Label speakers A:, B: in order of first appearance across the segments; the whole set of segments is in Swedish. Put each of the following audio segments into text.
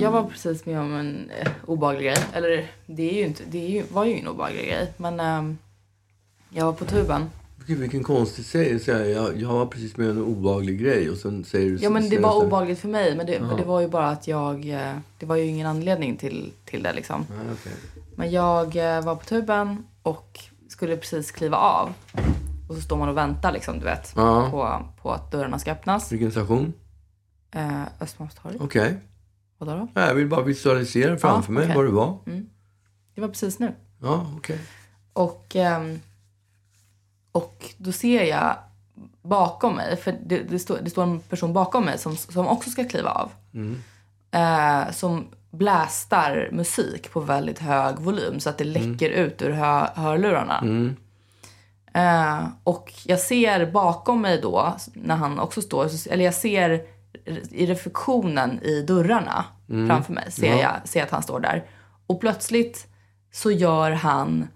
A: jag var precis med om en eh, obehaglig grej. Eller det, är ju inte, det är ju, var ju en obehaglig grej. Men ehm, jag var på tuben.
B: Gud, vilken konstig säg. säg. Jag, jag var precis med en obehaglig grej och sen säger du...
A: Ja men det
B: sen-
A: var
B: sen-
A: obehagligt för mig. Men det,
B: Jaha.
A: det var ju bara att jag... eh, Det var ju ingen anledning till, till det liksom.
B: Ah, okej.
A: Men jag eh, var på tuben och skulle precis kliva av. Och så står man och väntar liksom, du vet.
B: Ja.
A: På, på att dörrarna ska öppnas.
B: Vilken station?
A: Eh, Östermalmstorg.
B: Okej.
A: Vadå då?
B: Nej, Jag vill bara visualisera framför mig
A: okej. Mm.
B: var du var.
A: Det var precis nu.
B: Ja, okej.
A: Och, ehm, och då ser jag bakom mig, för det, det, står, det står en person bakom mig som, som också ska kliva av. Eh, som blästar musik på väldigt hög volym så att det läcker ut ur hö, hörlurarna.
B: Mm,
A: Eh, och jag ser bakom mig då, när han också står, så- eller jag ser i reflektionen i dörrarna framför mig, ser jag ser att han står där. Och plötsligt så gör han,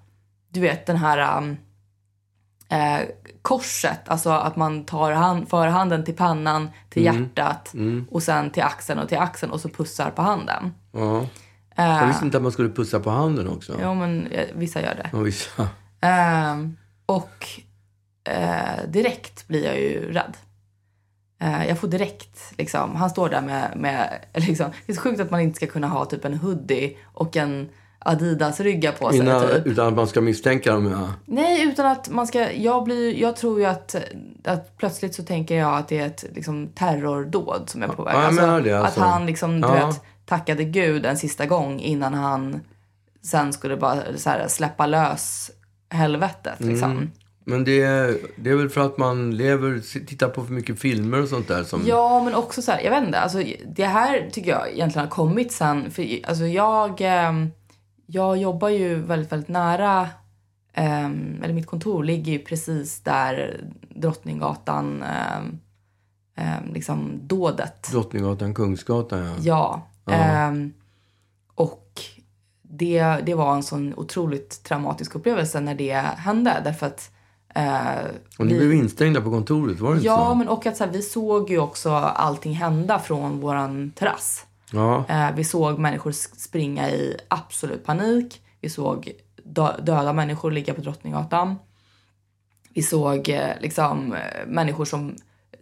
A: du vet den här um, eh, korset, alltså att man tar hand, för handen till pannan, till hjärtat
B: Mm.
A: och sen till axeln och till axeln och så pussar på handen.
B: Ja. Jag visste inte att man skulle pussa på handen också.
A: Jo men eh, vissa gör det.
B: Ja, visst.
A: Ehm, och eh, direkt blir jag ju rädd. Eh, jag får direkt, liksom, han står där med, med liksom, det är så sjukt att man inte ska kunna ha typ en hoodie och en Adidas-rygga på sig.
B: Innan,
A: typ.
B: utan att man ska misstänka dem. Ja.
A: Nej, utan att man ska... Jag, blir, jag tror ju att, att plötsligt så tänker jag att det är ett liksom, terrordåd som är på väg.
B: Ja, jag menar det, alltså.
A: Att han liksom, du
B: Ja.
A: vet, tackade Gud en sista gång innan han sen skulle bara så här, släppa lös helvetet. Liksom.
B: Mm. Men det, det är väl för att man lever, tittar på för mycket filmer och sånt där. Som,
A: Ja, men också så här, jag vet inte. Alltså, det här tycker jag egentligen har kommit sen. För, alltså, jag, ehm, jag jobbar ju väldigt, väldigt nära. ehm, eller mitt kontor ligger ju precis där Drottninggatan, ehm, ehm, liksom dådet.
B: Drottninggatan, Kungsgatan, ja.
A: Ja. ehm, och det, det var en sån otroligt traumatisk upplevelse när det hände. Därför att eh,
B: Och ni
A: vi-
B: blev instängda på kontoret, var det inte
A: Ja,
B: så?
A: men och att så här, vi såg ju också allting hända från våran terrass.
B: Ja.
A: Eh, vi såg människor s- springa i absolut panik. Vi såg dö- döda människor ligga på Drottninggatan. Vi såg eh, liksom eh, människor som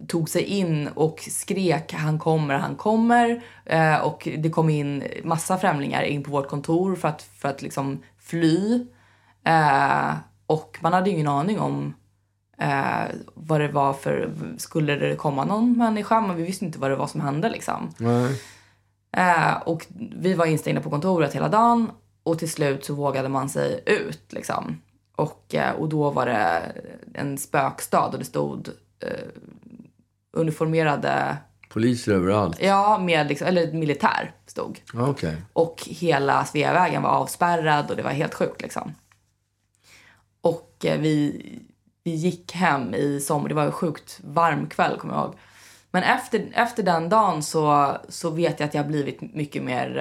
A: tog sig in och skrek han kommer, han kommer. Eh, och det kom in massa främlingar in på vårt kontor för att, för att liksom fly. Eh, och man hade ju ingen aning om eh, vad det var för, skulle det komma någon människa? Men vi visste inte vad det var som hände liksom.
B: Nej.
A: Eh, och vi var instängda på kontoret hela dagen och till slut så vågade man sig ut liksom. Och, eh, och då var det en spökstad och det stod eh, uniformerade,
B: Poliser överallt.
A: ja, med liksom, eller militär stod.
B: Ja, Okej.
A: Och hela Sveavägen var avspärrad och det var helt sjukt liksom. Och eh, vi, vi gick hem i sommar. Det var en sjukt varm kväll kommer jag ihåg. Men efter, efter den dagen så, så vet jag att jag har blivit mycket mer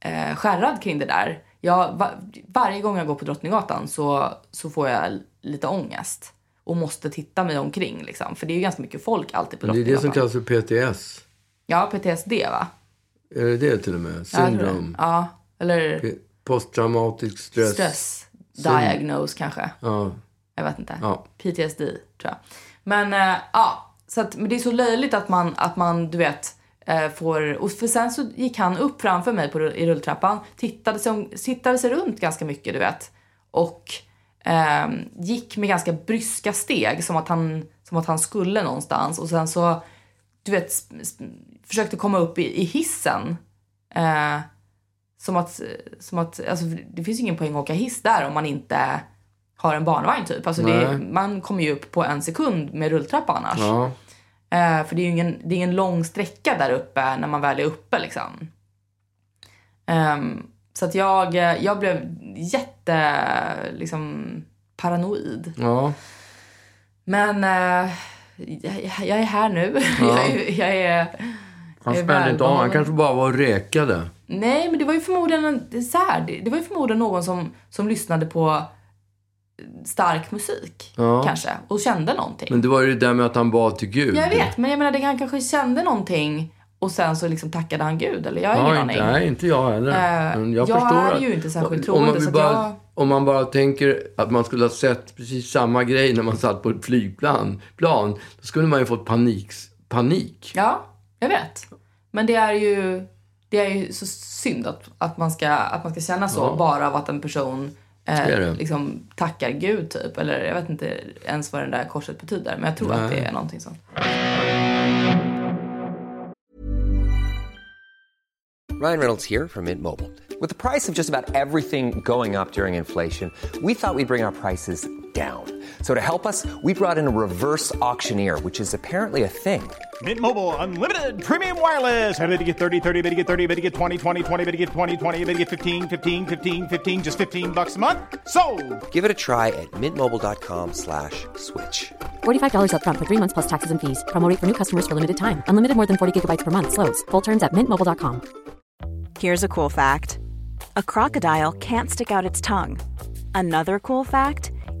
A: eh, eh, skärrad kring det där. Jag, va, varje gång jag går på Drottninggatan så, så får jag l- lite ångest. Och måste titta mig omkring liksom. För det är ju ganska mycket folk alltid på
B: Det är det
A: Drottninggatan.
B: som kallas för PTS.
A: Ja, PTSD va?
B: Är det det till och med?
A: Ja, jag tror det.
B: Syndrom.
A: Ja, eller...
B: P- Posttraumatisk stress.
A: stress diagnos kanske.
B: Ja.
A: Jag vet inte.
B: Ja.
A: PTSD tror jag. Men eh, ja, så att, men det är så löjligt att man, att man du vet, eh, får... Och för sen så gick han upp framför mig på, rull- i rulltrappan, tittade sig, om- tittade sig runt ganska mycket, du vet. Och ehm, gick med ganska bryska steg, som att, han, som att han skulle någonstans. Och sen så, du vet, sp- sp- försökte komma upp i, i hissen. Eh, som att, som att alltså, det finns ju ingen poäng att åka hiss där om man inte har en barnvagn typ. Alltså det,
B: Nej.
A: man kommer ju upp på en sekund med rulltrappa annars.
B: Ja.
A: Eh, för det är ju ingen, det är ingen lång sträcka där uppe när man väl är uppe liksom. Ehm, så att jag, eh, jag blev jätte, liksom, paranoid.
B: Ja.
A: Men eh, jag, jag är här nu. jag, är- jag är...
B: Han
A: Det är
B: spände inte av. Han
A: välbehållen.
B: kanske bara var och räkade.
A: Nej, men det var ju förmodligen en, det är så här, det, det var ju förmodligen någon som, som lyssnade på eh, stark musik
B: Ja.
A: kanske och kände någonting.
B: Men det var ju det där med att han bad till Gud.
A: Jag vet, men jag menar det, han kanske kände någonting Och sen så liksom tackade han Gud. Eller jag har ingen
B: Ja,
A: aning.
B: inte, nej, inte jag heller.
A: Eh,
B: Men
A: jag
B: förstår
A: är
B: att-
A: ju inte särskilt
B: om man,
A: troende,
B: vill
A: så att
B: bara,
A: jag-
B: om man bara tänker att man skulle ha sett precis samma grej när man satt på ett flygplan, plan, då skulle man ju fått panik. panik.
A: Ja, jag vet. Men det är ju, det är ju så synd att, att, man ska, att man ska känna så
B: Ja.
A: bara av att en person
B: är
A: eh,
B: det.
A: liksom tackar Gud typ. Eller jag vet inte ens vad det där korset betyder. Men jag tror att det
B: Nej.
A: är någonting sånt.
C: Ryan Reynolds here from Mint Mobile. With the price of just about everything going up during inflation, we thought we'd bring our prices down. So to help us, we brought in a reverse auctioneer, which is apparently a thing.
D: Mint Mobile unlimited premium wireless. Ready to get 30, 30, bit to get 30, bit to get 20, 20, 20, bit to get 20, 20, bit to get 15, 15, 15, 15 just 15 bucks a month. Sold.
C: Give it a try at mintmobile.com slash switch.
E: $45 up front for three months plus taxes and fees. Promoting for new customers for limited time. Unlimited more than 40 gigabytes per month. Slows. Full terms at mintmobile.com.
F: Here's a cool fact a crocodile can't stick out its tongue. Another cool fact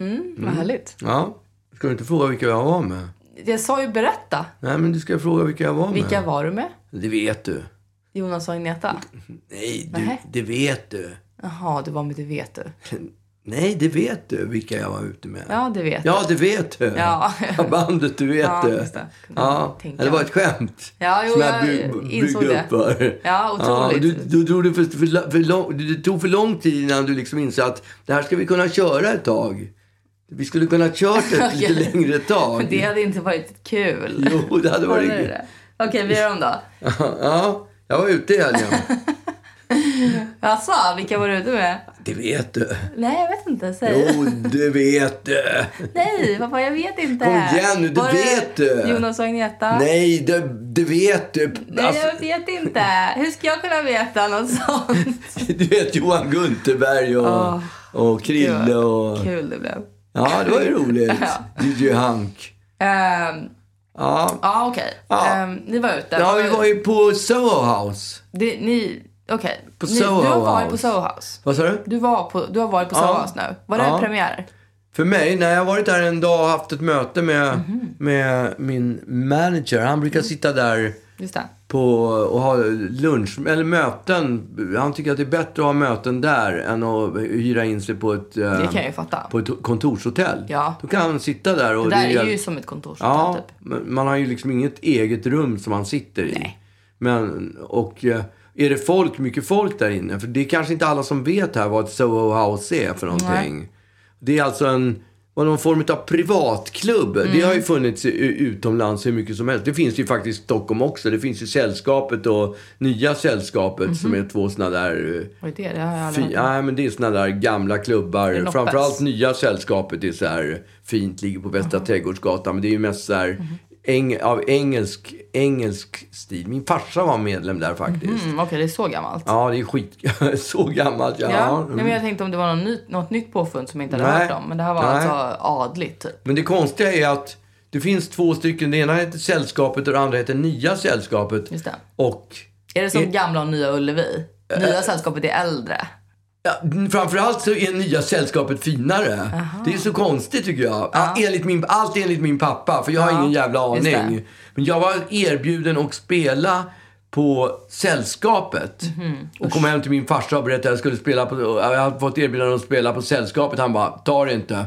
B: Mm.
A: Vad härligt.
B: Ja. Ska du inte fråga vilka jag var med?
A: Jag sa ju berätta.
B: Nej, men du ska fråga vilka jag var med.
A: Vilka var du med?
B: Det vet du.
A: Jonas och Agneta?
B: Nej,
A: Nähä.
B: du, det vet du.
A: Jaha, du var med Det vet du.
B: Nej, det vet du vilka jag var ute med.
A: Ja, det vet
B: Ja, det vet du.
A: Ja.
B: Bandet, du vet
A: Ja,
B: det.
A: just det. Kunde
B: Ja,
A: tänka
B: det var
A: mig.
B: ett skämt.
A: Ja, jo,
B: som jag,
A: jag
B: bygg, byggde
A: insåg det.
B: upp för.
A: Ja, otroligt.
B: du, du, drog det för, för, la- för lång, det tog för lång tid innan du liksom insåg att det här ska vi kunna köra ett tag. Vi skulle kunna ha kört det ett lite längre tag.
A: Men det hade inte varit kul.
B: Jo, det hade varit...
A: Håller du det? Okej, vi gör om då.
B: Ja, jag var ute i helgen.
A: Jaså, vilka var du ute med?
B: Det vet du.
A: Nej, jag vet inte. Säg.
B: Jo, det vet du.
A: Nej, pappa, jag vet inte.
B: Kom igen nu, det
A: Var
B: vet du.
A: Jonas och Agneta?
B: Nej, det, det vet du.
A: Nej,
B: Alltså,
A: jag vet inte. Hur ska jag kunna veta något sånt?
B: du vet Johan Gunterberg och, och Krille och...
A: Kul det blev.
B: Ja, det var ju roligt. DJ Hank.
A: Ehm,
B: Ja.
A: ja, okej.
B: Ja.
A: Ehm, ni var ute.
B: ja, vi var ju på Soho House.
A: Det, ni, okej.
B: På
A: Ni- Du har
B: Soho
A: varit på
B: House.
A: Soho House.
B: Vad sa du?
A: Du, var på, du har varit på Soho
B: Ja.
A: House nu. Var det
B: Ja.
A: premiär?
B: För mig, när jag har varit där en dag och haft ett möte med, med min manager. Han brukar sitta där
A: Just det.
B: på och ha lunch, eller möten. Han tycker att det är bättre att ha möten där än att hyra in sig på ett, eh,
A: Det kan jag ju fatta.
B: på ett kontorshotell.
A: Ja.
B: Då kan han sitta där och...
A: Det där
B: det
A: är ju som ett kontorshotell
B: Ja,
A: typ.
B: men man har ju liksom inget eget rum som man sitter i.
A: Nej.
B: Men, och eh, är det folk, mycket folk där inne? För det är kanske inte alla som vet här vad ett Soho House är för någonting. Det är alltså en, vad någon form av privatklubb. Det
A: Mm.
B: har ju funnits i- u- utomlands hur mycket som helst. Det finns ju faktiskt i Stockholm också. Det finns ju Sällskapet och Nya Sällskapet
A: Mhm.
B: som är två sådana där eh,
A: Vad är det? Det har jag aldrig
B: Fy,
A: hört.
B: nej, men det är såna där gamla
A: är
B: klubbar.
A: loppes.
B: Framförallt nya sällskapet är så här fint, ligger på Västra Trädgårdsgatan. Men det är ju mest så här
A: Mhm.
B: eng, av engelsk, engelsk stil. Min farsa var medlem där faktiskt.
A: Mm, Okej, det är så gammalt.
B: Ja, det är skit... så gammalt, ja.
A: Ja,
B: Mm.
A: nej, men jag tänkte om det var något nytt, något nytt påfund som jag inte hade
B: Nej.
A: hört om. Men det här var
B: Nej.
A: alltså adligt typ.
B: Men det konstiga är att det finns två stycken. Det ena heter Sällskapet och det andra heter Nya Sällskapet.
A: Just det.
B: Och
A: Är det som
B: I-
A: gamla och nya Ullevi? Nya sällskapet är äldre.
B: Ja, framförallt så är nya sällskapet finare. Det är så konstigt tycker jag. Ja. Enligt min, allt enligt min pappa, för jag har ingen jävla
A: just det.
B: aning. Men jag var erbjuden att spela på Sällskapet.
A: Mhm.
B: Och kom hem till min farsa och berättade att jag skulle spela på... Jag hade fått erbjudande att spela på Sällskapet. Han bara, ta det inte.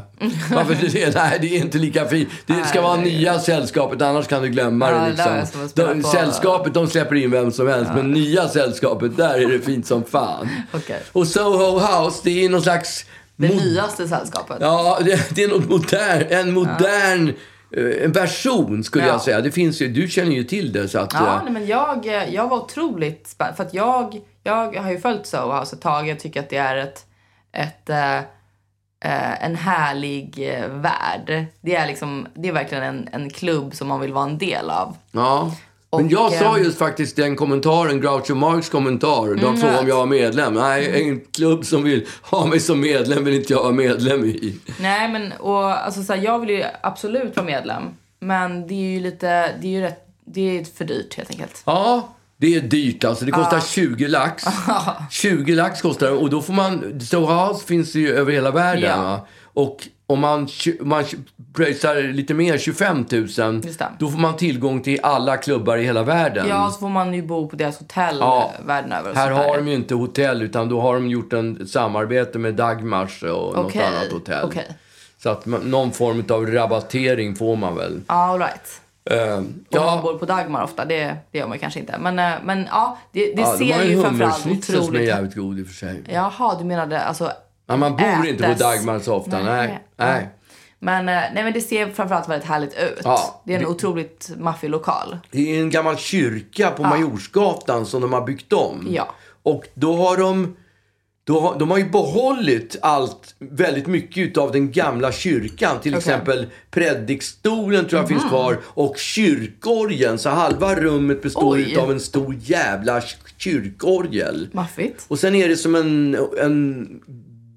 B: Varför det? Nej, det är inte lika fint. Det ska vara nya Sällskapet, annars kan du glömma
A: Ja,
B: det
A: det
B: liksom.
A: är som att spela
B: De,
A: på-
B: sällskapet, de släpper in vem som helst. Men nya Sällskapet, där är det fint som fan.
A: Okej.
B: Och Soho House, det är någon slags...
A: Det
B: mod-
A: nyaste sällskapet.
B: Ja, det, det är något modern, en modern eh, en version skulle
A: Ja.
B: jag säga. Det finns ju, du känner ju till det så att...
A: Ja,
B: eh,
A: nej, men jag, jag var otroligt spänd. För att jag, jag har ju följt Soho House ett tag. Jag tycker att det är ett, ett, eh, eh, en härlig eh, värld. Det är, liksom, det är verkligen en, en klubb som man vill vara en del av.
B: ja. Men jag
A: Och,
B: sa
A: ehm,
B: just faktiskt den kommentaren, Groucho Marx kommentar.
A: Mm.
B: De frågade om jag var medlem. Nej, en klubb som vill ha mig som medlem vill inte jag vara medlem i.
A: Nej, men och, alltså, så här, jag vill ju absolut vara medlem. Men det är ju lite, det är ju rätt, det är för dyrt helt enkelt.
B: Ja, det är dyrt alltså. Det kostar 20 lax. 20 lax kostar det. Och då får man... Storehouse finns ju över hela världen.
A: Ja.
B: Va? Och om man, tj- man tj- pröjsar lite mer, 25 000,
A: Just det.
B: då får man tillgång till alla klubbar i hela världen.
A: Ja, så får man ju bo på deras hotell
B: Ja.
A: världen över. och
B: Här
A: sånt där.
B: har de ju inte hotell, utan då har de gjort en ett samarbete med Dagmars och
A: Okej,
B: något annat hotell.
A: okej.
B: Så att man, någon form av rabattering får man väl.
A: All right.
B: Eh,
A: Ja. Man
B: ja,
A: bor på Dagmar ofta, det, det gör man ju kanske inte. Men, eh, men ja, det, det
B: ja, de har
A: ser ju framförallt
B: hummerschnitzel som är
A: otroligt...
B: jävligt god i och för sig.
A: Jaha, du menade alltså...
B: Ja, man bor inte
A: ätas.
B: på Dagmar så ofta. Nej. nej.
A: Men, eh, nej, men det ser framförallt väldigt härligt ut.
B: Ja,
A: det är en
B: det-
A: otroligt maffig lokal.
B: Det är en gammal kyrka på Majorsgatan som de har byggt om.
A: Ja.
B: Och då har de... Då har, de har ju behållit allt, väldigt mycket av den gamla kyrkan. Till exempel predikstolen tror jag
A: Mm.
B: finns kvar och kyrkorgeln. Så halva rummet består
A: Oj.
B: av en stor jävla kyrkorgel.
A: Maffigt.
B: Och sen är det som en, en,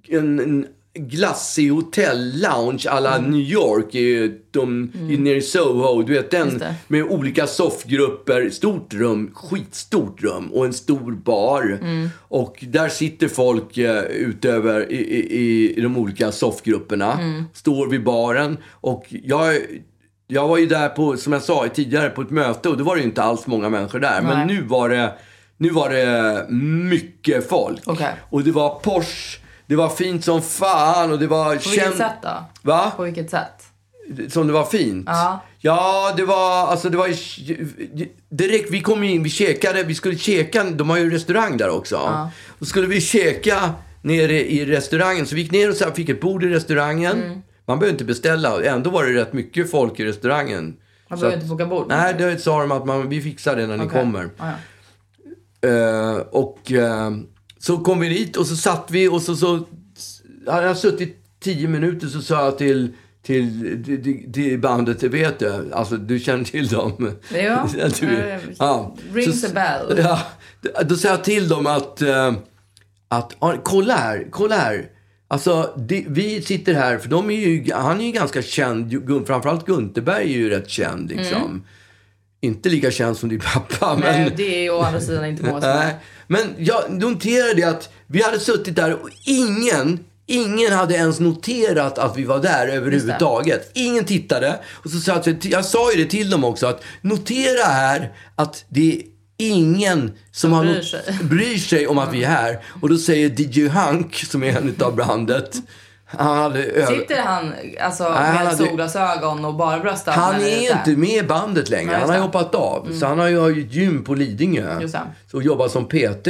B: en, en glassig hotell-lounge à la New York i, de, i, nere i Soho. Du vet den
A: det.
B: med olika soffgrupper. Stort rum, skitstort rum och en stor bar. Och där sitter folk eh, utöver i, i, i- i de olika soffgrupperna. Står vid baren. Och jag, jag var ju där på, som jag sa tidigare, på ett möte och då var det ju inte alls många människor där. Men
A: Nej.
B: nu var det nu var det mycket folk.
A: Okej.
B: Och det var Porsche, det var fint som fan och det var...
A: På vilket sätt då?
B: Va?
A: På vilket sätt?
B: Som det var fint?
A: Ja.
B: Ja, det var... Alltså det var... Direkt, vi kom in, vi käkade, vi skulle käka, de har ju restaurang där också. Då skulle vi käka nere i restaurangen. Så vi gick ner och så här, fick ett bord i restaurangen.
A: Mm.
B: Man behöver inte beställa, ändå var det rätt mycket folk i restaurangen.
A: Man
B: Så
A: behöver
B: att-
A: inte boka bord.
B: Nej, det sa de att man, vi fixar det när ni
A: Okej.
B: kommer.
A: Ja, ja.
B: Eh, och eh, så kom vi dit och så satt vi och så, så hade jag suttit tio minuter så sa jag till till, till, till bandet, vet du, alltså du känner till dem.
A: Ja.
B: du,
A: Eh, rings
B: Så-
A: a bell.
B: Ja, då sa jag till dem att, eh, att ah, kolla här, kolla här. Alltså, det, vi sitter här, för de är ju, han är ju ganska känd, Gun- framförallt Gunterberg är ju rätt känd liksom. Inte lika känd som din pappa, men...
A: Mm. Nej, det är ju å andra sidan inte många som
B: Nej,
A: är.
B: men jag noterade att vi hade suttit där och ingen, ingen hade ens noterat att vi var där överhuvudtaget. Ingen tittade. Och så sa jag, till- jag sa ju det till dem också att notera här att det är ingen som har
A: bryr
B: not-
A: sig.
B: bryr sig om att vi är här. Och då säger DJ Hank, som är en av brandet, han hade över...
A: Sitter han alltså,
B: han
A: med
B: hade-
A: solglasögon och bara bröstar?
B: Han
A: när det
B: är
A: så här?
B: inte med i bandet längre.
A: Nej,
B: Han
A: just
B: har ju
A: det. Mm.
B: hoppat av. Så han har ju har ju ett gym på Lidingö.
A: Just det.
B: Och jobbar som PT.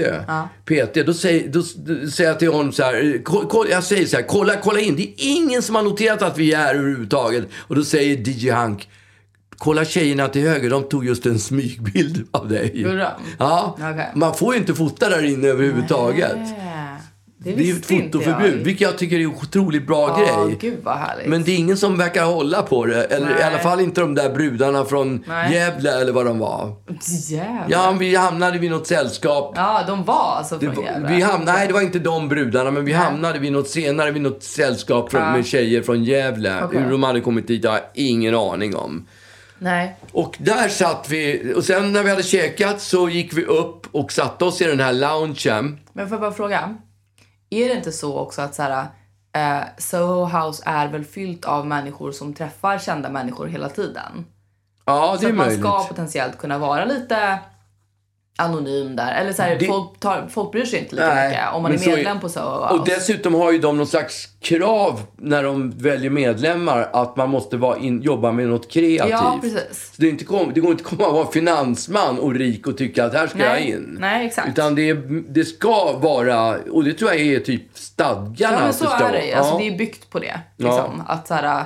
B: PT. Då säger, då, s- då säger jag till honom så här. "Ko- Kolla, jag säger så här. Kolla, kolla in. Det är ingen som har noterat att vi är här överhuvudtaget. Och då säger DJ Hank. Kolla tjejerna till höger. De tog just en smygbild av dig.
A: Gjorde de?
B: Ja.
A: Okej.
B: Man får ju inte fota där inne överhuvudtaget.
A: Nej, Det
B: Det är ju
A: visste
B: ett
A: inte jag.
B: fotoförbud. Vilket jag tycker är en otroligt bra
A: Ja,
B: grej.
A: gud vad härligt.
B: Men det är ingen som verkar hålla på det. Eller i
A: Nej.
B: alla fall inte de där brudarna från
A: Nej.
B: Gävle eller vad de var.
A: Jävlar.
B: Ja, vi hamnade vid något sällskap.
A: Ja, de var alltså
B: Det
A: från
B: var,
A: Gävle.
B: vi hamnade, nej, det var inte de brudarna, men vi hamnade vid något senare vid något sällskap från, med tjejer från Gävle.
A: Okej.
B: Hur de hade kommit dit har jag ingen aning om.
A: Nej.
B: Och där satt vi. Och sen när vi hade käkat så gick vi upp och satte oss i den här loungen.
A: Men får jag bara fråga? Är det inte så också att så här, eh, Soho House är väl fyllt av människor som träffar kända människor hela tiden?
B: Ja, det
A: så
B: är
A: att man
B: möjligt.
A: ska potentiellt kunna vara lite anonym där. Eller så här,
B: Det-
A: folk, tar, folk bryr sig inte lika
B: Nej,
A: mycket om man
B: men
A: är
B: så är-
A: medlem på Soho House.
B: Och dessutom har ju de någon slags krav när de väljer medlemmar att man måste vara in, jobba med något kreativt.
A: Ja, precis.
B: Så det, är inte kom, det går inte att komma och vara finansman och rik och tycka att här ska
A: Nej,
B: jag in.
A: nej, exakt.
B: Utan det, är- det ska vara, och det tror jag är typ stadgarna.
A: Ja, men
B: att
A: så
B: det ska
A: är det ju.
B: vara.
A: Alltså,
B: Ja.
A: det är byggt på det. Liksom. Att, så här,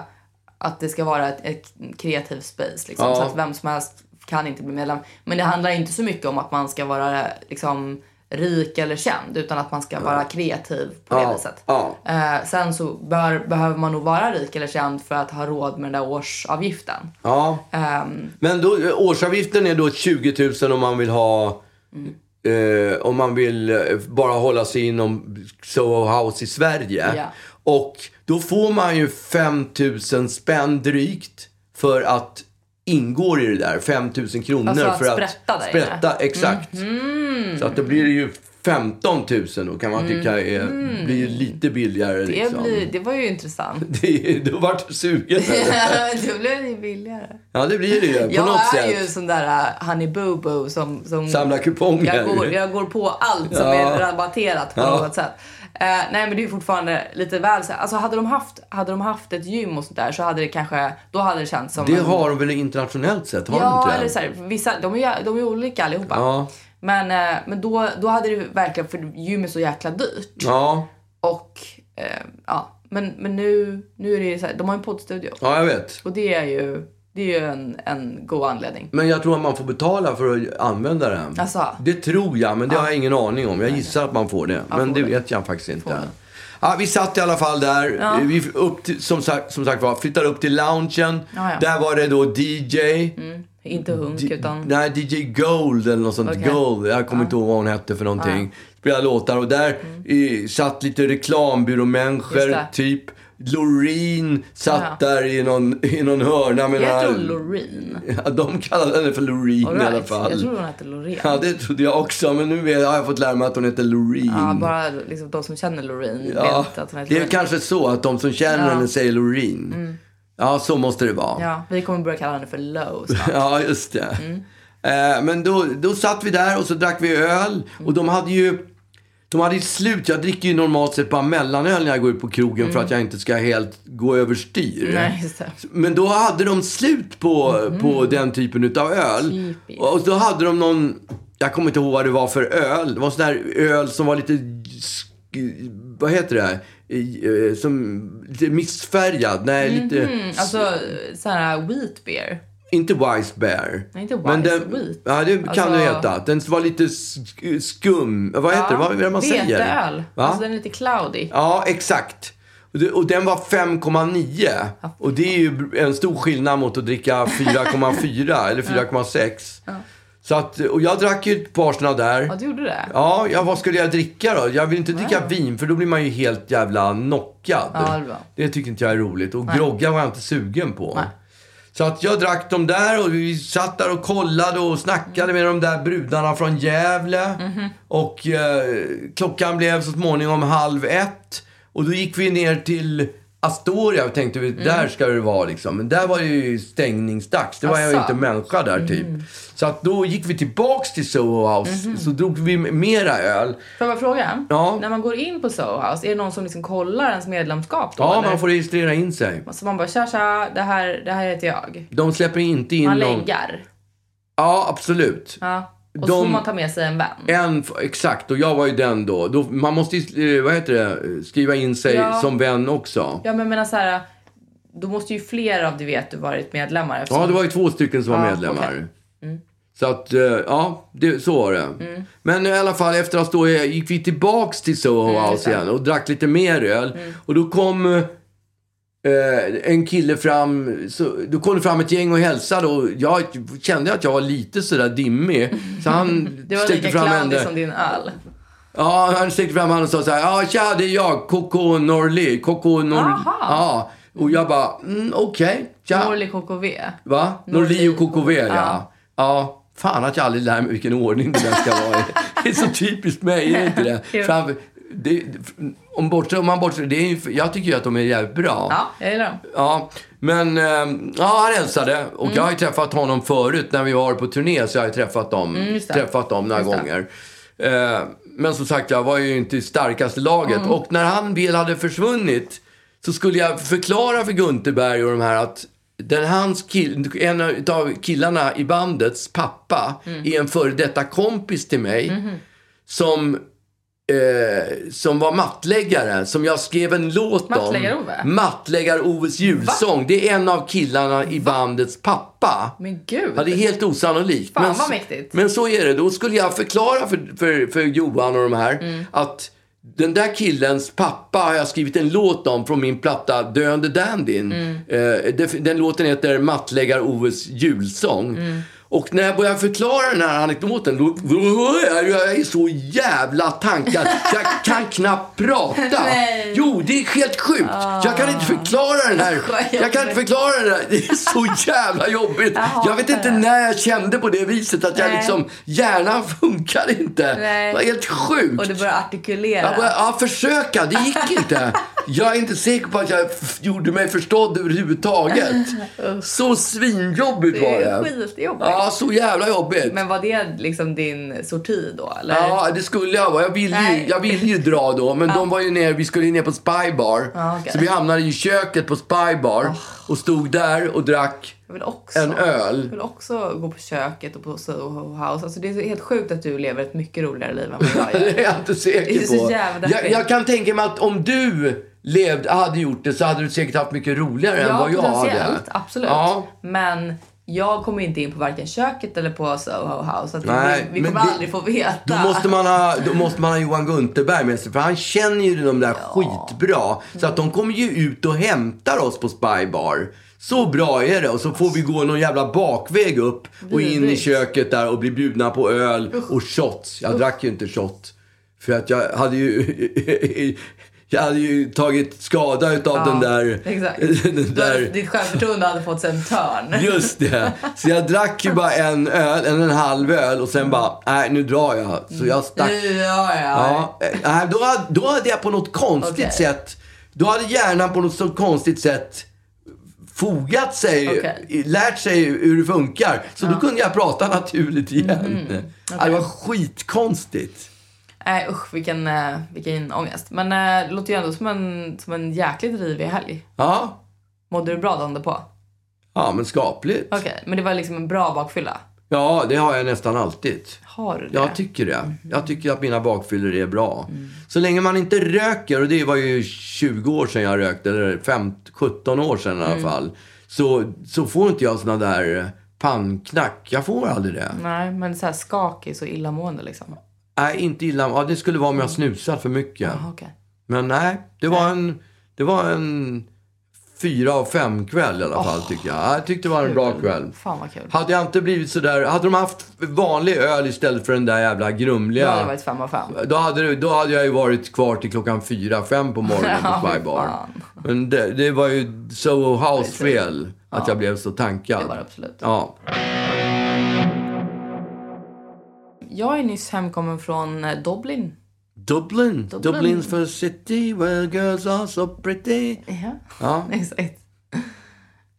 A: att det ska vara ett, ett kreativt space. Liksom.
B: Ja.
A: Så att vem som helst kan inte bli medlem. Men det handlar inte så mycket om att man ska vara liksom, rik eller känd utan att man ska vara kreativ på det
B: Ja,
A: viset.
B: ja.
A: Eh, sen så bör, behöver man nog vara rik eller känd för att ha råd med den där årsavgiften.
B: Ja.
A: Ehm,
B: Men då, årsavgiften är då 20 000 om man vill ha...
A: Mm.
B: Eh, om man vill eh, bara hålla sig inom Soho House i Sverige.
A: Ja.
B: Och då får man ju 5 000 spänn drygt för att ingå i det där. 5 000 kronor
A: Alltså att
B: för att
A: sprätta där inne.
B: sprätta. Exakt.
A: Mhm.
B: Så att då blir det ju 15 000 då kan man tycka är, blir lite billigare.
A: Mhm. det,
B: liksom.
A: blir, det var ju intressant.
B: det, då vart du sugen. eller?
A: det blev ju billigare.
B: ja, det blir det ju. På
A: jag
B: något
A: är
B: sätt.
A: ju en sån där uh, honey boo boo som, som
B: Samlar kuponger.
A: Mm. Jag går, jag går på allt som
B: Ja.
A: är rabatterat på
B: Ja.
A: något sätt. Eh, nej men det är ju fortfarande lite väl så alltså hade de haft, hade de haft ett gym och sånt där så hade det kanske, då hade det känts som
B: Det
A: en-
B: har de väl internationellt sett? Har de
A: Ja,
B: inte det?
A: eller så här, vissa, de är ju de är ju olika allihopa.
B: Ja.
A: Men, eh, men då, då hade det verkligen, för gym är så jäkla dyrt.
B: Ja.
A: Och, eh, ja. Men, men nu, nu är det ju så här, de har ju en poddstudio.
B: ja, jag vet.
A: Och det är ju, det är ju en, en god anledning.
B: Men jag tror att man får betala för att använda den.
A: Alltså.
B: Det tror jag, men det har jag ingen aning om. Jag gissar att man får det, men det vet jag faktiskt inte. Ja, vi satt i alla fall där. Vi upp till, som sagt, som sagt var, flyttade upp till loungen.
A: Ja, ja.
B: Där var det då DJ.
A: Inte hunk
B: Di-
A: utan...
B: Nej, DJ Gold eller något sånt.
A: Okej.
B: Gold. Jag kommer inte ihåg vad hon hette för någonting. Spelade låtar och där eh, satt lite
A: Mm. Just
B: reklambyråmänniskor,
A: det.
B: typ. Loreen satt
A: Ja.
B: där i någon, i någon hörna med den
A: Heter hon
B: här...
A: Loreen?
B: Ja, de kallade henne för Loreen i alla
A: Alright. Jag
B: fall.
A: tror hon heter Loreen.
B: Ja, det trodde jag också, men nu vet- har jag fått lära mig att hon heter Loreen.
A: Ja, bara liksom de som känner Loreen
B: Mm. Ja,
A: vet att
B: det
A: hon heter
B: är
A: Loreen. Mm.
B: kanske så att de som känner henne säger Loreen. Ja, så måste det vara.
A: Ja, vi kommer börja kalla henne för Low snart.
B: Ja, just det. Eh, men då, då satt vi där och så drack vi öl. Och de hade ju... De hade ju slut. Jag dricker ju normalt sett bara mellanöl när jag går ut på krogen för att jag inte ska helt gå överstyr.
A: Nej, just det.
B: Men då hade de slut på, på den typen av öl.
A: Typiskt.
B: Och då hade de någon, jag kommer inte ihåg vad det var för öl. Det var sån här öl som var lite, sk- vad heter det? här? I- eh, Som, lite missfärgad. Nej, lite,
A: Alltså, sån här wheat beer.
B: inte Wise Bear.
A: Nej, inte Wise, Wheat.
B: Ja, det kan
A: Alltså-
B: det heta. Den var lite sk- skum, vad heter det? Vad är det man säger?
A: Veteöl.
B: Va?
A: Alltså den är lite cloudy.
B: Ja, exakt. Och det- Och den var 5,9. Och det är ju en stor skillnad mot att dricka 4,4 eller 4,6. Så att, och jag drack ju ett par såna där.
A: Ja, du gjorde det?
B: Ja, ja, vad skulle jag dricka då? Jag vill inte dricka vin för då blir man ju helt jävla knockad.
A: Ja, det var.
B: det tycker inte jag är roligt. Och grogga var jag inte sugen på. Så att jag drack dem där och vi satt där och kollade och snackade
A: Mm.
B: med de där brudarna från Gävle.
A: Mhm.
B: Och eh, klockan blev så småningom halv ett. Och då gick vi ner till Astoria och tänkte
A: Mm.
B: vi, där ska det vara liksom. Men där var det ju stängningsdags. Det var jag ju
A: Asså. Mm.
B: inte människa där typ. Så att då gick vi tillbaks till Soho House.
A: Mhm.
B: Så drog vi mera öl.
A: Får jag bara fråga?
B: Ja.
A: När man går in på Soho House, är det någon som liksom kollar ens medlemskap då?
B: Ja,
A: eller?
B: man får registrera in sig.
A: Så man bara tja tja, det här, det här heter jag.
B: De släpper inte in
A: Man
B: någon.
A: läggar.
B: Ja, absolut.
A: Ja.
B: De-
A: Och så får man ta med sig en vän.
B: En, f- exakt, och jag var ju den då. då man måste ju, eh, vad heter det, skriva in sig
A: Ja.
B: som vän också.
A: Ja men jag menar så här, då måste ju fler av du vet du varit medlemmar eftersom...
B: Ja, det var ju två stycken som var
A: Ja,
B: medlemmar.
A: okej. Mm.
B: Så att, eh, ja, det, så var det. Men i alla fall, efter att stå gick vi tillbaks till Soho
A: Mm,
B: House igen och drack lite mer öl. Och då kom eh, en kille fram, så, då kom det fram ett gäng och hälsade och jag kände att jag var lite sådär dimmig. Så han
A: det var lika
B: sträckte fram
A: clownig
B: händer.
A: som din öl.
B: Ja, han sträckte fram handen och sa så här. Ja, tja, det är jag, Coco Norli. Coco Norli.
A: Aha.
B: Ja. Och jag bara, mm, okej. tja.
A: Norli KKV.
B: Va? Norli
A: Norli
B: och KKV, ja.
A: Ja.
B: Ja. Fan att jag aldrig lär mig vilken ordning det där ska vara i. Det är så typiskt mig, är det inte det?
A: Jo.
B: Framför, det om, bortser, om man bortser... Det är, ju- jag tycker ju att de är jävligt bra.
A: Ja, jag gillar dem.
B: Ja, men ehm, ja, han hälsade. Och jag har
A: Mm.
B: ju träffat honom förut när vi var på turné. Så jag har ju träffat dem,
A: Mm, just det.
B: träffat dem några gånger. Eh, men som sagt, jag var ju inte i starkaste laget.
A: Mm.
B: Och när han väl hade försvunnit så skulle jag förklara för Gunterberg och de här att den hans kill, en av killarna i
A: Mm. Mm-hmm.
B: bandets pappa är en före detta kompis till mig. Som eh, som var mattläggare, som jag skrev en låt
A: Mattläggar-Ove?
B: om. Mattläggar-Oves julsång. Det är en av killarna i bandets pappa.
A: Men gud.
B: Ja, det är helt osannolikt.
A: Fan,
B: men,
A: vad mäktigt.
B: Men så är det. Då skulle jag förklara för, för, för Johan och de här
A: Mm.
B: att den där killens pappa har jag skrivit en låt om från min platta Döende Dandyn.
A: Mm.
B: Eh, det- den låten heter Mattläggar-Oves julsång.
A: Mm.
B: Och när jag börjar förklara den här anekdoten, då, då är jag, jag är så jävla tankad. Jag kan knappt prata.
A: Nej. Ah.
B: Jo, det är helt sjukt. Jag kan inte förklara den här.
A: Vad
B: Jag kan inte förklara det där. Det är så jävla jobbigt. Jag, vet inte när jag kände på det viset att jag
A: Nej.
B: liksom, hjärnan funkar inte.
A: Nej.
B: Det var helt sjukt.
A: Och du börjar artikulera.
B: Jag började, ja, försöka. Det gick inte. Jag är inte säker på att jag f- gjorde mig förstådd överhuvudtaget. Så svinjobbigt
A: Det
B: var
A: är
B: det.
A: skitjobbigt.
B: Ja, så jävla jobbigt.
A: Men var det liksom din sorti då? Eller?
B: Ja, det skulle jag vara. Jag ville ju,
A: Nej.
B: jag ville ju dra då, men de var ju ner, vi skulle ju ner på Spybar.
A: Ja, okej.
B: Så vi hamnade i köket på Spybar och stod där och drack
A: Jag vill också,
B: En öl.
A: Jag vill också gå på köket och på Soho House. Alltså det är så helt sjukt att du lever ett mycket roligare liv än vad jag
B: Det är
A: gör.
B: jag inte säker
A: Det är så
B: på.
A: jävla
B: jag,
A: fel.
B: jag kan tänka mig att om du levde, hade gjort det så hade du säkert haft mycket roligare än
A: Ja,
B: vad jag hade.
A: potentiellt. Absolut.
B: Ja.
A: Men jag kommer inte in på varken köket eller på Soho House. Så att
B: Nej,
A: vi, vi
B: men
A: kommer
B: det-
A: aldrig få veta.
B: Då måste, man ha, då måste man ha Johan Gunterberg med sig, för han känner ju de där skitbra. Så att de kommer ju ut och hämtar oss på Spybar. Så bra är det. Och så får vi gå någon jävla bakväg upp och in i
A: Vidrigt.
B: köket där och bli bjudna på öl och shots. Jag drack ju inte shot. För att jag hade ju... Jag hade ju tagit skada utav den där...
A: Exakt.
B: Den där
A: Ditt självförtroende hade fått sig en törn.
B: Just det. Så jag drack ju bara en öl, eller en halv öl och sen bara, nej nu drar jag. Så jag stack.
A: Ja, ja.
B: Ja, eh, nej, då, hade- då hade jag på något konstigt
A: Okej.
B: sätt, då hade hjärnan på något så konstigt sätt fogat sig,
A: Okej.
B: i- lärt sig hur det funkar. Så då kunde jag prata naturligt igen.
A: Mm-hmm.
B: Ja, Det var skitkonstigt.
A: Nej usch vilken, eh, vilken ångest. Men eh, det låter ju ändå som en, som en jäkligt rivig helg.
B: Ja,
A: Mådde du bra dagen därpå?
B: ja men skapligt.
A: Okej, men det var liksom en bra bakfylla?
B: Ja, det har jag nästan alltid.
A: Har du det?
B: Jag tycker det.
A: Mm-hmm.
B: Jag tycker att mina bakfyllor är bra.
A: Mm.
B: Så länge man inte röker, och det var ju 20 år sedan jag rökte, eller 15, 17 år sedan i
A: Mm.
B: alla fall. Så, så får inte jag såna där pannknack. Jag får aldrig det.
A: Nej, men så här skakig och illamående liksom.
B: Nej, inte illa. Ja, det skulle vara om jag snusat för mycket.
A: Aha, okej.
B: Men nej, det var en, det var en fyra av fem kväll i alla fall tycker jag. Jag tyckte det var en bra kväll.
A: Fan vad kul.
B: Hade jag inte blivit sådär, hade de haft vanlig öl istället för den där jävla grumliga.
A: Då hade det varit fem av fem.
B: Då hade, du- då hade jag ju varit kvar till klockan fyra, fem på morgonen på
A: Ja,
B: Spybar.
A: fan.
B: Men det, det var ju Soho House fel att jag blev så tankad.
A: Det var det absolut.
B: Ja.
A: Jag är nyss hemkommen från eh, Dublin.
B: Dublin.
A: Dublin.
B: Dublin's first city where girls are so pretty.
A: Ja,
B: Ja.
A: exakt.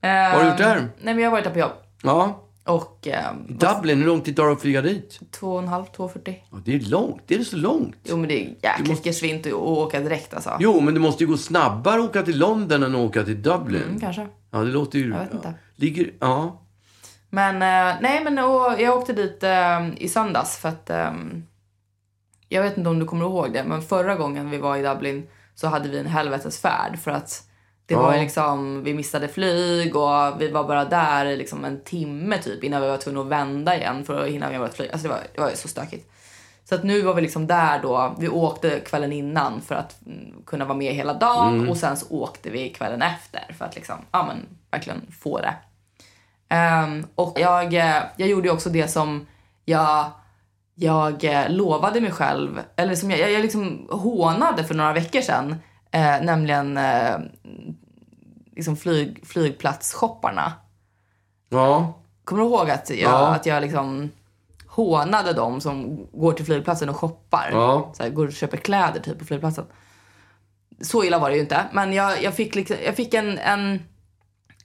B: Vad har du gjort där?
A: Nej, men jag har varit där på jobb.
B: Ja.
A: Och ehm,
B: Dublin, hur lång tid tar det att flyga dit?
A: två och en halv, två och fyrtio.
B: Ja, Det är långt. Är det så långt?
A: Jo, men det är jäkligt gesvint att att åka direkt alltså.
B: Jo, men det måste ju gå snabbare att åka till London än att åka till Dublin.
A: Mm, kanske.
B: Ja, det låter ju... Jag
A: vet inte.
B: Ligger... Ja.
A: Men eh, nej, men och, jag åkte dit eh, i söndags för att eh, jag vet inte om du kommer ihåg det, men förra gången vi var i Dublin så hade vi en helvetesfärd för att det var ju liksom, vi missade flyg och vi var bara där i liksom en timme typ innan vi var tvungna att vända igen för att hinna med vårt flyg. Alltså det var, det var ju så stökigt. Så att nu var vi liksom där då, vi åkte kvällen innan för att mm, kunna vara med hela dagen och sen så åkte vi kvällen efter för att liksom, ja men verkligen få det. Ehm, och jag, eh, jag gjorde ju också det som jag, jag eh, lovade mig själv, eller som jag, jag, jag liksom hånade för några veckor sedan, eh, nämligen eh, liksom flyg, flygplatsshopparna.
B: Ja.
A: Kommer du ihåg att jag,
B: Ja.
A: att jag liksom hånade dem som går till flygplatsen och shoppar?
B: Ja.
A: Så här, går och köper kläder typ på flygplatsen. Så illa var det ju inte, men jag, jag fick, liksom, jag fick en, en,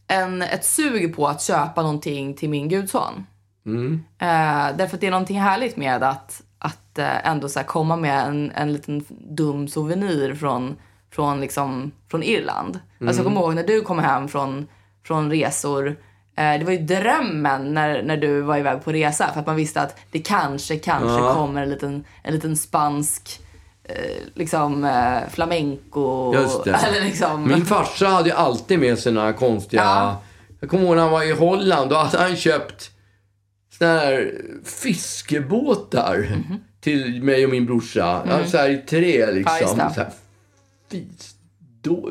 A: en, ett sug på att köpa någonting till min gudson.
B: Mm.
A: Eh, därför att det är någonting härligt med att, att eh, ändå så här komma med en, en liten dum souvenir från, från, liksom, från Irland.
B: Mm.
A: Alltså jag kommer ihåg när du kom hem från, från resor. Eh, det var ju drömmen när, när du var iväg på resa för att man visste att det kanske, kanske kommer en liten, en liten spansk eh, eh, liksom eh, flamenco.
B: Just det.
A: Eller liksom...
B: Min farsa hade ju alltid med sina konstiga...
A: Ja.
B: Jag kommer ihåg när han var i Holland. Då hade han köpt såna här fiskebåtar till mig och min brorsa. Mm. Så här i trä liksom.
A: Mhm. Ja, just det.
B: så här, fis, då,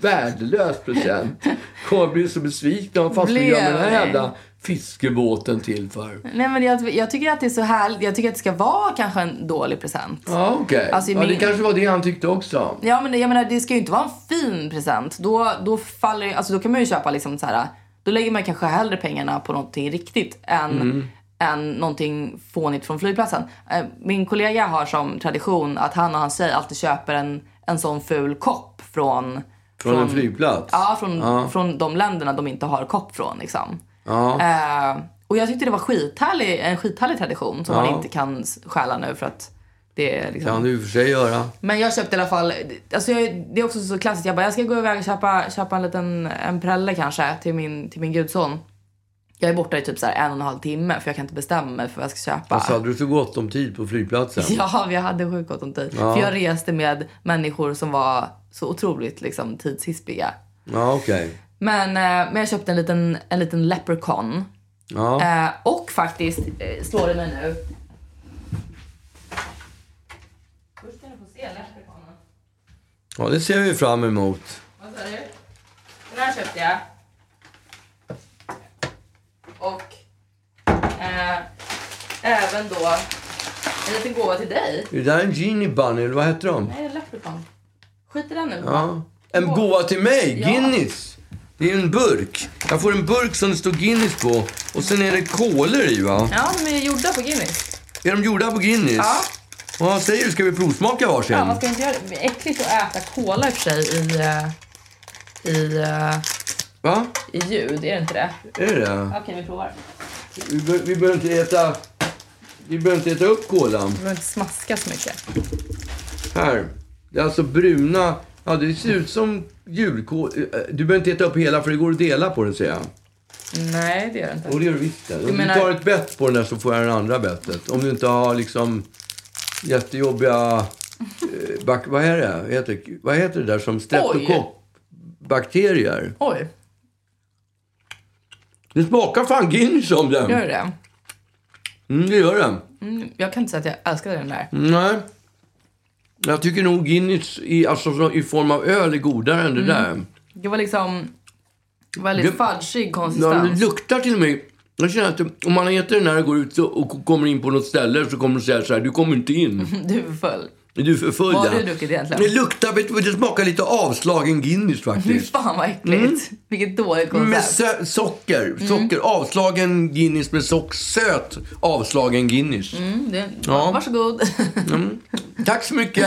B: värdelös present. Kommer bli så besviken. Vad fan ska jag
A: Blev
B: göra med den här
A: ni?
B: jävla fiskebåten till för?
A: Nej men jag, jag tycker att det är så härligt. Jag tycker att det ska vara kanske en dålig present.
B: Ja, okej.
A: Alltså,
B: ja,
A: min-
B: Det kanske var det han tyckte också.
A: Ja men jag menar det ska ju inte vara en fin present. Då, då faller ju- alltså då kan man ju köpa liksom så här. Då lägger man kanske hellre pengarna på någonting riktigt än, än någonting fånigt från flygplatsen. Eh, Min kollega har som tradition att han och hans tjej alltid köper en, en sån ful kopp från
B: Från, en flygplats.
A: Ja, från, från de länderna de inte har kopp från. Liksom.
B: Ja.
A: Eh, och jag tyckte det var skithärlig, en skithärlig tradition som
B: Ja.
A: man inte kan s- stjäla nu för att det är liksom...
B: Kan du i och för sig göra.
A: Men jag köpte i alla fall, alltså jag, det är också så klassiskt. Jag bara, jag ska gå iväg och köpa, köpa en liten en prälle kanske till min, till min gudson. Jag är borta i typ så här en och en halv timme för jag kan inte bestämma mig för vad jag ska köpa.
B: Alltså, hade du så gott om tid på flygplatsen?
A: Ja, vi hade sjukt gott om tid. För jag reste med människor som var så otroligt liksom, tidshispiga.
B: Ja, okej.
A: Men, eh, men jag köpte en liten, en liten leprechaun.
B: Ja.
A: Eh, och faktiskt, eh, slår det mig nu. Först ska ni få se leprechaunen.
B: ja, det ser vi fram emot.
A: Vad sa du? Den här köpte jag. Och eh, även då en liten gåva till dig.
B: Är det där en Genie Bunny, eller vad heter de?
A: Nej, en leprechaun. Skit i den nu.
B: Ja. En gåva till mig, Guinness. Det är en burk. Jag får en burk som det står Guinness på. Och sen är det kolor i, va?
A: Ja, de är gjorda på Guinness.
B: Är de gjorda på Guinness?
A: Ja.
B: Och vad säger du? Ska vi provsmaka varsin?
A: Ja, man ska inte göra det. det är äckligt att äta cola i och för sig i, eh, i, eh,
B: Va?
A: i ljud, är det inte det?
B: Är det det
A: Okej, vi provar.
B: vi, be- vi behöver inte äta... Vi behöver inte äta upp kolan.
A: Du behöver inte smaska så mycket.
B: Här. Det är alltså bruna... Ja, det ser ut som julkål. Eh, Du behöver inte äta upp hela, för det går att dela på den, ser jag.
A: Nej, det gör det inte.
B: Och det gör du visst det. Om
A: menar-
B: du tar ett bett på den där så får jag det andra bettet. Om du inte har liksom jättejobbiga... Eh, bak, vad, är det? Heter, vad heter det där som streptokockbakterier?
A: Oj,
B: Det smakar fan Guinness om den.
A: gör det
B: Mm, det gör den.
A: mm, Jag kan inte säga att jag älskade den där.
B: Nej. Jag tycker nog Guinness i, alltså, så- i form av öl är godare än det
A: Mm.
B: där.
A: Det var liksom väldigt
B: Det-
A: fudgig
B: Ja, det
A: konsistens.
B: luktar till mig. Jag känner att om man äter den här och går ut så- och kommer in på något ställe så kommer de säga så här, du kommer inte in.
A: Du är full.
B: Är du för full?
A: Vad har
B: ja?
A: du druckit egentligen?
B: Det luktar, vet du, det smakar lite avslagen Guinness
A: Fy
B: faktiskt.
A: fan vad äckligt.
B: Mm.
A: Vilket dåligt
B: Med
A: koncept.
B: sö- socker,
A: Mm.
B: socker, avslagen Guinness med sock, söt avslagen Guinness.
A: Mm, det,
B: Ja.
A: Varsågod.
B: Tack så mycket!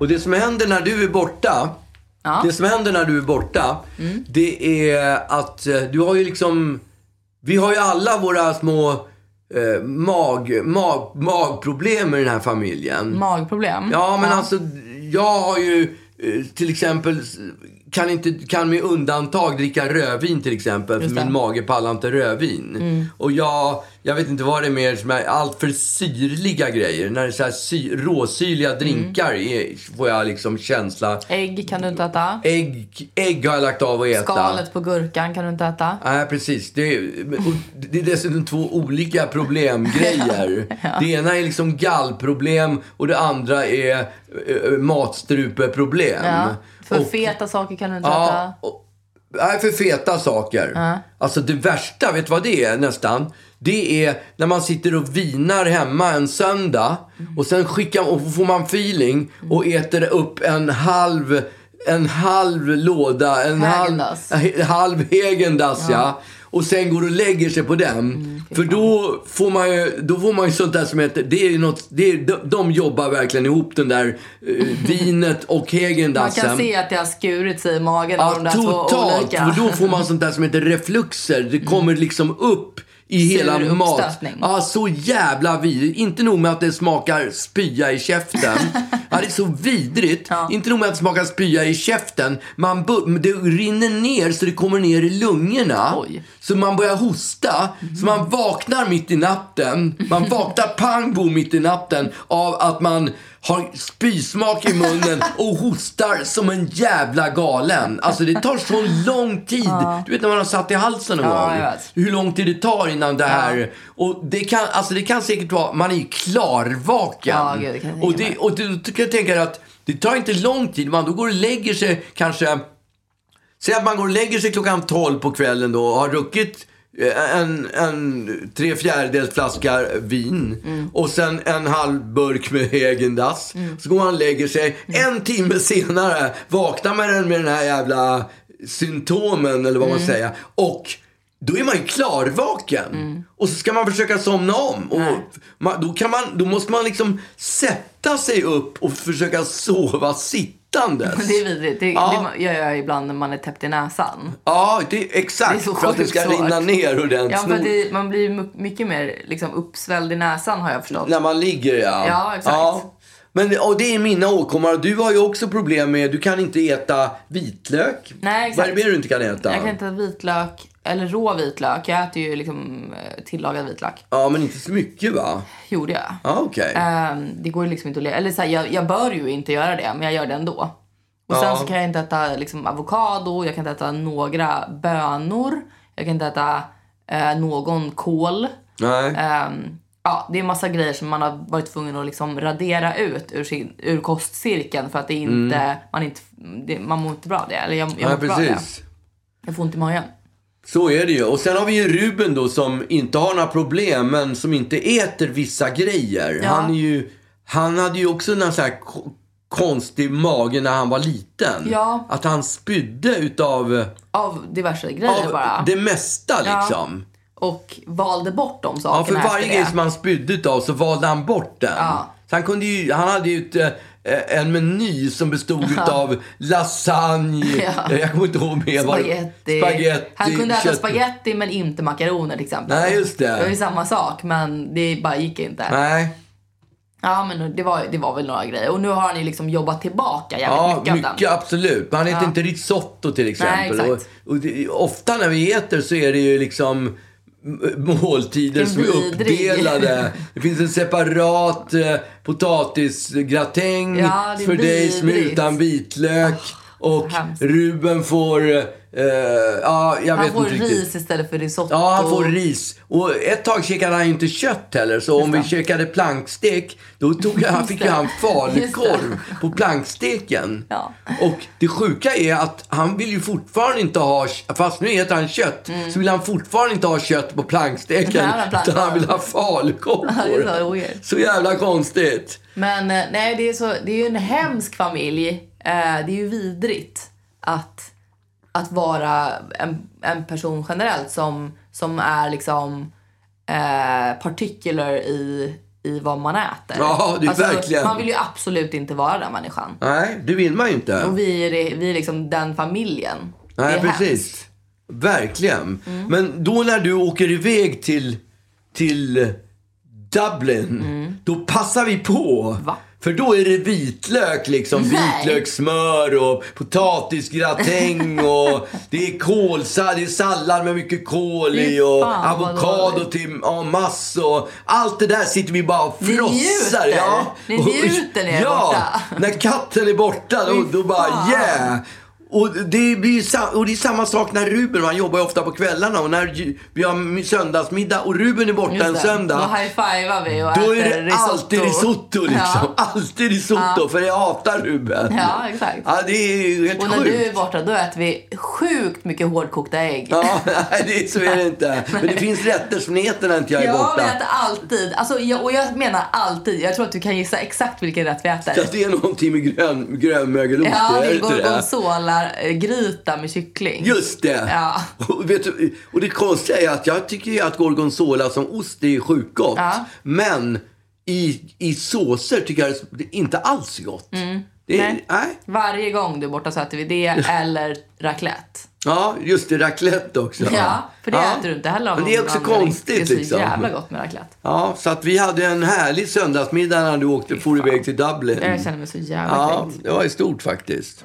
B: Och det som händer när du är borta,
A: Ja. Mm.
B: det som händer när du är borta, det är att eh, du har ju liksom, vi har ju alla våra små eh, mag, mag, magproblem i den här familjen.
A: Magproblem.
B: Ja, men alltså jag har ju eh, till exempel kan, inte, kan med undantag dricka rödvin till exempel. För
A: Just det. Mm.
B: min mage pallar inte rödvin. Och jag jag vet inte vad det är mer som är allt för syrliga grejer. När det är så här sy, råsyrliga drinkar
A: Mm.
B: är, får jag liksom känsla.
A: Ägg kan du inte äta.
B: Ägg, ägg har jag lagt av att äta.
A: Skalet på gurkan kan du inte äta.
B: Nej, precis. Det är, men- och det är dessutom två olika problemgrejer. Det ena är liksom gallproblem och det andra är eh, matstrupeproblem.
A: Ja. För
B: Och-
A: feta saker kan du inte
B: Ja,
A: äta.
B: och, nej, för feta saker. Alltså det värsta, vet du vad det är nästan? Det är när man sitter och vinar hemma en söndag och sen skickar, och får man feeling och äter upp en halv en halv låda, en
A: Häagen-Dazs.
B: halv, en halv Häagen-Dazs ja. Och sen går och lägger sig på den.
A: Mm,
B: För då får, man ju, då får man ju sånt där som heter, det är ju något, det är, de, de jobbar verkligen ihop den där eh, vinet och
A: Man
B: Häagen-Dazsen.
A: kan se att det har skurit sig i magen av de
B: Alltså- Ja,
A: där två
B: totalt.
A: olika. Mm.
B: För då får man sånt där som heter refluxer. Det kommer liksom upp i
A: Sur
B: hela mat.
A: uppstötning.
B: Ja, så jävla vidrigt. Inte nog med att det smakar spya i käften. ja, det är så vidrigt. Inte nog med att det smakar spya i käften. Man bu- men det rinner ner så det kommer ner i lungorna.
A: Oj.
B: Så man börjar hosta. Så man vaknar mitt i natten. Man vaknar pang bom mitt i natten av att man har spysmak i munnen och hostar som en jävla galen. Alltså det tar så lång tid. Du vet när man har satt i halsen någon
A: Ja, jag
B: gång.
A: vet.
B: Hur lång tid det tar innan det här. Och det kan, alltså det kan säkert vara, man är ju klarvaken.
A: Ja, gud, det kan jag
B: och
A: tänka
B: det, och det, då kan jag tänka dig att det tar inte lång tid. Man då går och lägger sig kanske Säg att man går och lägger sig klockan 12 på kvällen då och har druckit eh, en, en tre fjärdedels flaska vin
A: Mm.
B: och sen en halv burk med häagen dass Så går man och lägger sig.
A: Mm.
B: En timme senare vaknar man med den här jävla symptomen eller vad
A: Mm.
B: man säger. Och då är man ju klarvaken.
A: Mm.
B: Och så ska man försöka somna om. Och man, då, kan man, då måste man liksom sätta sig upp och försöka sova sittandes.
A: Det är vidrigt. Det,
B: Ja.
A: det gör jag ibland när man är täppt i näsan.
B: Ja, det, exakt.
A: Det är så
B: för att det
A: sjukt
B: ska
A: svårt.
B: rinna ner
A: Ja,
B: ordentligt.
A: för att det, man blir mu- mycket mer liksom, uppsvälld i näsan har jag förstått.
B: När man ligger, ja.
A: Ja, exakt.
B: Men och det är mina åkommor. Du har ju också problem med, du kan inte äta vitlök.
A: Nej,
B: Vad
A: exakt.
B: är det mer du inte kan äta?
A: Jag kan inte äta vitlök, eller rå vitlök. Jag äter ju liksom eh, tillagad vitlök.
B: Ja, men inte så mycket va?
A: Gjorde jag.
B: Ja, okej.
A: Ehm, det går ju liksom inte att leva. Eller så här, jag, jag bör ju inte göra det, men jag gör det ändå. Och sen
B: Ja.
A: så kan jag inte äta liksom, avokado, jag kan inte äta några bönor. Jag kan inte äta eh, någon kål.
B: Nej.
A: Ehm, ja, det är massa grejer som man har varit tvungen att liksom radera ut ur, sin, ur kostcirkeln för att det inte, man, inte, det, man mår inte bra av det. Eller jag, jag
B: Mm. Nej,
A: mår bra av det.
B: precis.
A: Jag får ont i magen.
B: Så är det ju. Och sen har vi ju Ruben då som inte har några problem men som inte äter vissa grejer.
A: Ja.
B: Han, är ju, han hade ju också någon sån här ko- konstig mage när han var liten.
A: Ja.
B: Att han spydde utav
A: Av diverse grejer
B: av
A: bara.
B: det mesta
A: Ja.
B: liksom.
A: Och valde bort de
B: Ja, för
A: sakerna
B: varje
A: efter det.
B: grej som han spydde utav så valde han bort den.
A: Ja.
B: Så han, kunde ju, han hade ju ett, eh, en meny som bestod utav lasagne,
A: Ja.
B: eh, jag kommer inte ihåg mer. vad det-
A: Spaghetti.
B: spaghetti.
A: Han kunde äta
B: kött-
A: spaghetti men inte makaroner till exempel.
B: Nej, just det.
A: Det var ju samma sak men det bara gick inte.
B: Nej,
A: Ja men det var, det var väl några grejer. Och nu har han ju liksom jobbat tillbaka jävligt
B: ja,
A: mycket, av den.
B: mycket absolut. Men han äter inte risotto till exempel.
A: Nej,
B: och,
A: exakt.
B: och det, ofta när vi äter så är det ju liksom m- måltider
A: Vilken
B: som är
A: vidrig.
B: uppdelade. Det finns en separat eh, potatisgratäng
A: Ja, det är
B: för dig som är
A: vidrigt.
B: utan vitlök. och
A: hemskt.
B: Ruben får, eh, ja jag
A: Han
B: vet
A: får
B: inte riktigt.
A: ris istället för risotto.
B: Ja, han får ris. Och ett tag käkade han ju inte kött heller. Så om vi käkade plankstek, då tog jag, fick ju han falukorv på planksteken.
A: Ja.
B: Och det sjuka är att han vill ju fortfarande inte ha, fast nu heter han kött, så vill han fortfarande inte ha kött på planksteken.
A: Mm. Nej, han har plank-
B: Utan han vill ha falukorv
A: Ja,
B: på
A: det är så
B: det.
A: weird.
B: Så jävla konstigt.
A: Men eh, nej, det är, så, det är ju en hemsk familj. Eh, det är ju vidrigt att, att vara en, en person generellt som, som är liksom eh, particular i, i vad man äter.
B: Ja,
A: Alltså,
B: det är verkligen.
A: Man vill ju absolut inte vara den människan.
B: Nej, det vill man ju inte.
A: Och vi är, det- vi är liksom den familjen.
B: Nej,
A: det är
B: precis.
A: hemskt. Mm.
B: Verkligen. Men då när du åker iväg till, till Dublin, då passar vi på.
A: Mm. Va?
B: För då är det vitlök liksom. Vitlökssmör och potatisgratäng och det är kålsallad, det är sallad med mycket kål i
A: Fy
B: och
A: fan, vad
B: avokado
A: dåligt.
B: till en masse och allt det där sitter vi bara och
A: Ni
B: frossar.
A: njuter.
B: Ja.
A: Ni
B: Och-
A: njuter när jag är
B: Ja,
A: borta.
B: när katten är borta då,
A: Fy
B: då bara
A: fan.
B: yeah. Och det, blir, ju sa- och det är samma sak när Ruben, han jobbar ju ofta på kvällarna och när ju- vi har söndagsmiddag och Ruben är borta en
A: Just det.
B: söndag.
A: Då high-fivar vi och
B: Då är
A: äter
B: det alltid risotto liksom.
A: Ja.
B: Alltid risotto, för jag hatar Ruben.
A: Ja, exakt.
B: Ja, det är ju helt
A: Och när
B: sjukt.
A: du är borta då äter vi sjukt mycket hårdkokta ägg.
B: Ja, nej, det är, så är det inte. Men det finns rätter som ni äter när inte jag är
A: Ja, vi
B: borta.
A: äter alltid. Alltså, jag, och jag menar alltid. Jag tror att du kan gissa exakt vilken rätt vi
B: Så
A: äter.
B: att det är någonting med grön, grönmögelost.
A: Ja,
B: är
A: det
B: det inte
A: går
B: det?
A: gorgonzola-gryta med kyckling.
B: Just det!
A: Ja.
B: Och, vet du, och det konstiga är att jag tycker ju att gorgonzola som ost är sjukt gott.
A: Ja.
B: Men i, i såser tycker jag det är inte alls gott. Det är,
A: Mm. Nej.
B: nej.
A: Varje gång du är borta så äter vi det eller raclette.
B: Ja, just det. Raclette också.
A: Ja, för det
B: Ja.
A: äter du inte heller av
B: Men det är
A: någon
B: också
A: anledning.
B: konstigt
A: Det är så
B: liksom.
A: jävla gott med raclette.
B: Ja, så att vi hade en härlig söndagsmiddag när du åkte, for iväg till Dublin.
A: Jag känner mig så jävla
B: Ja,
A: kränkt.
B: det var ju stort faktiskt.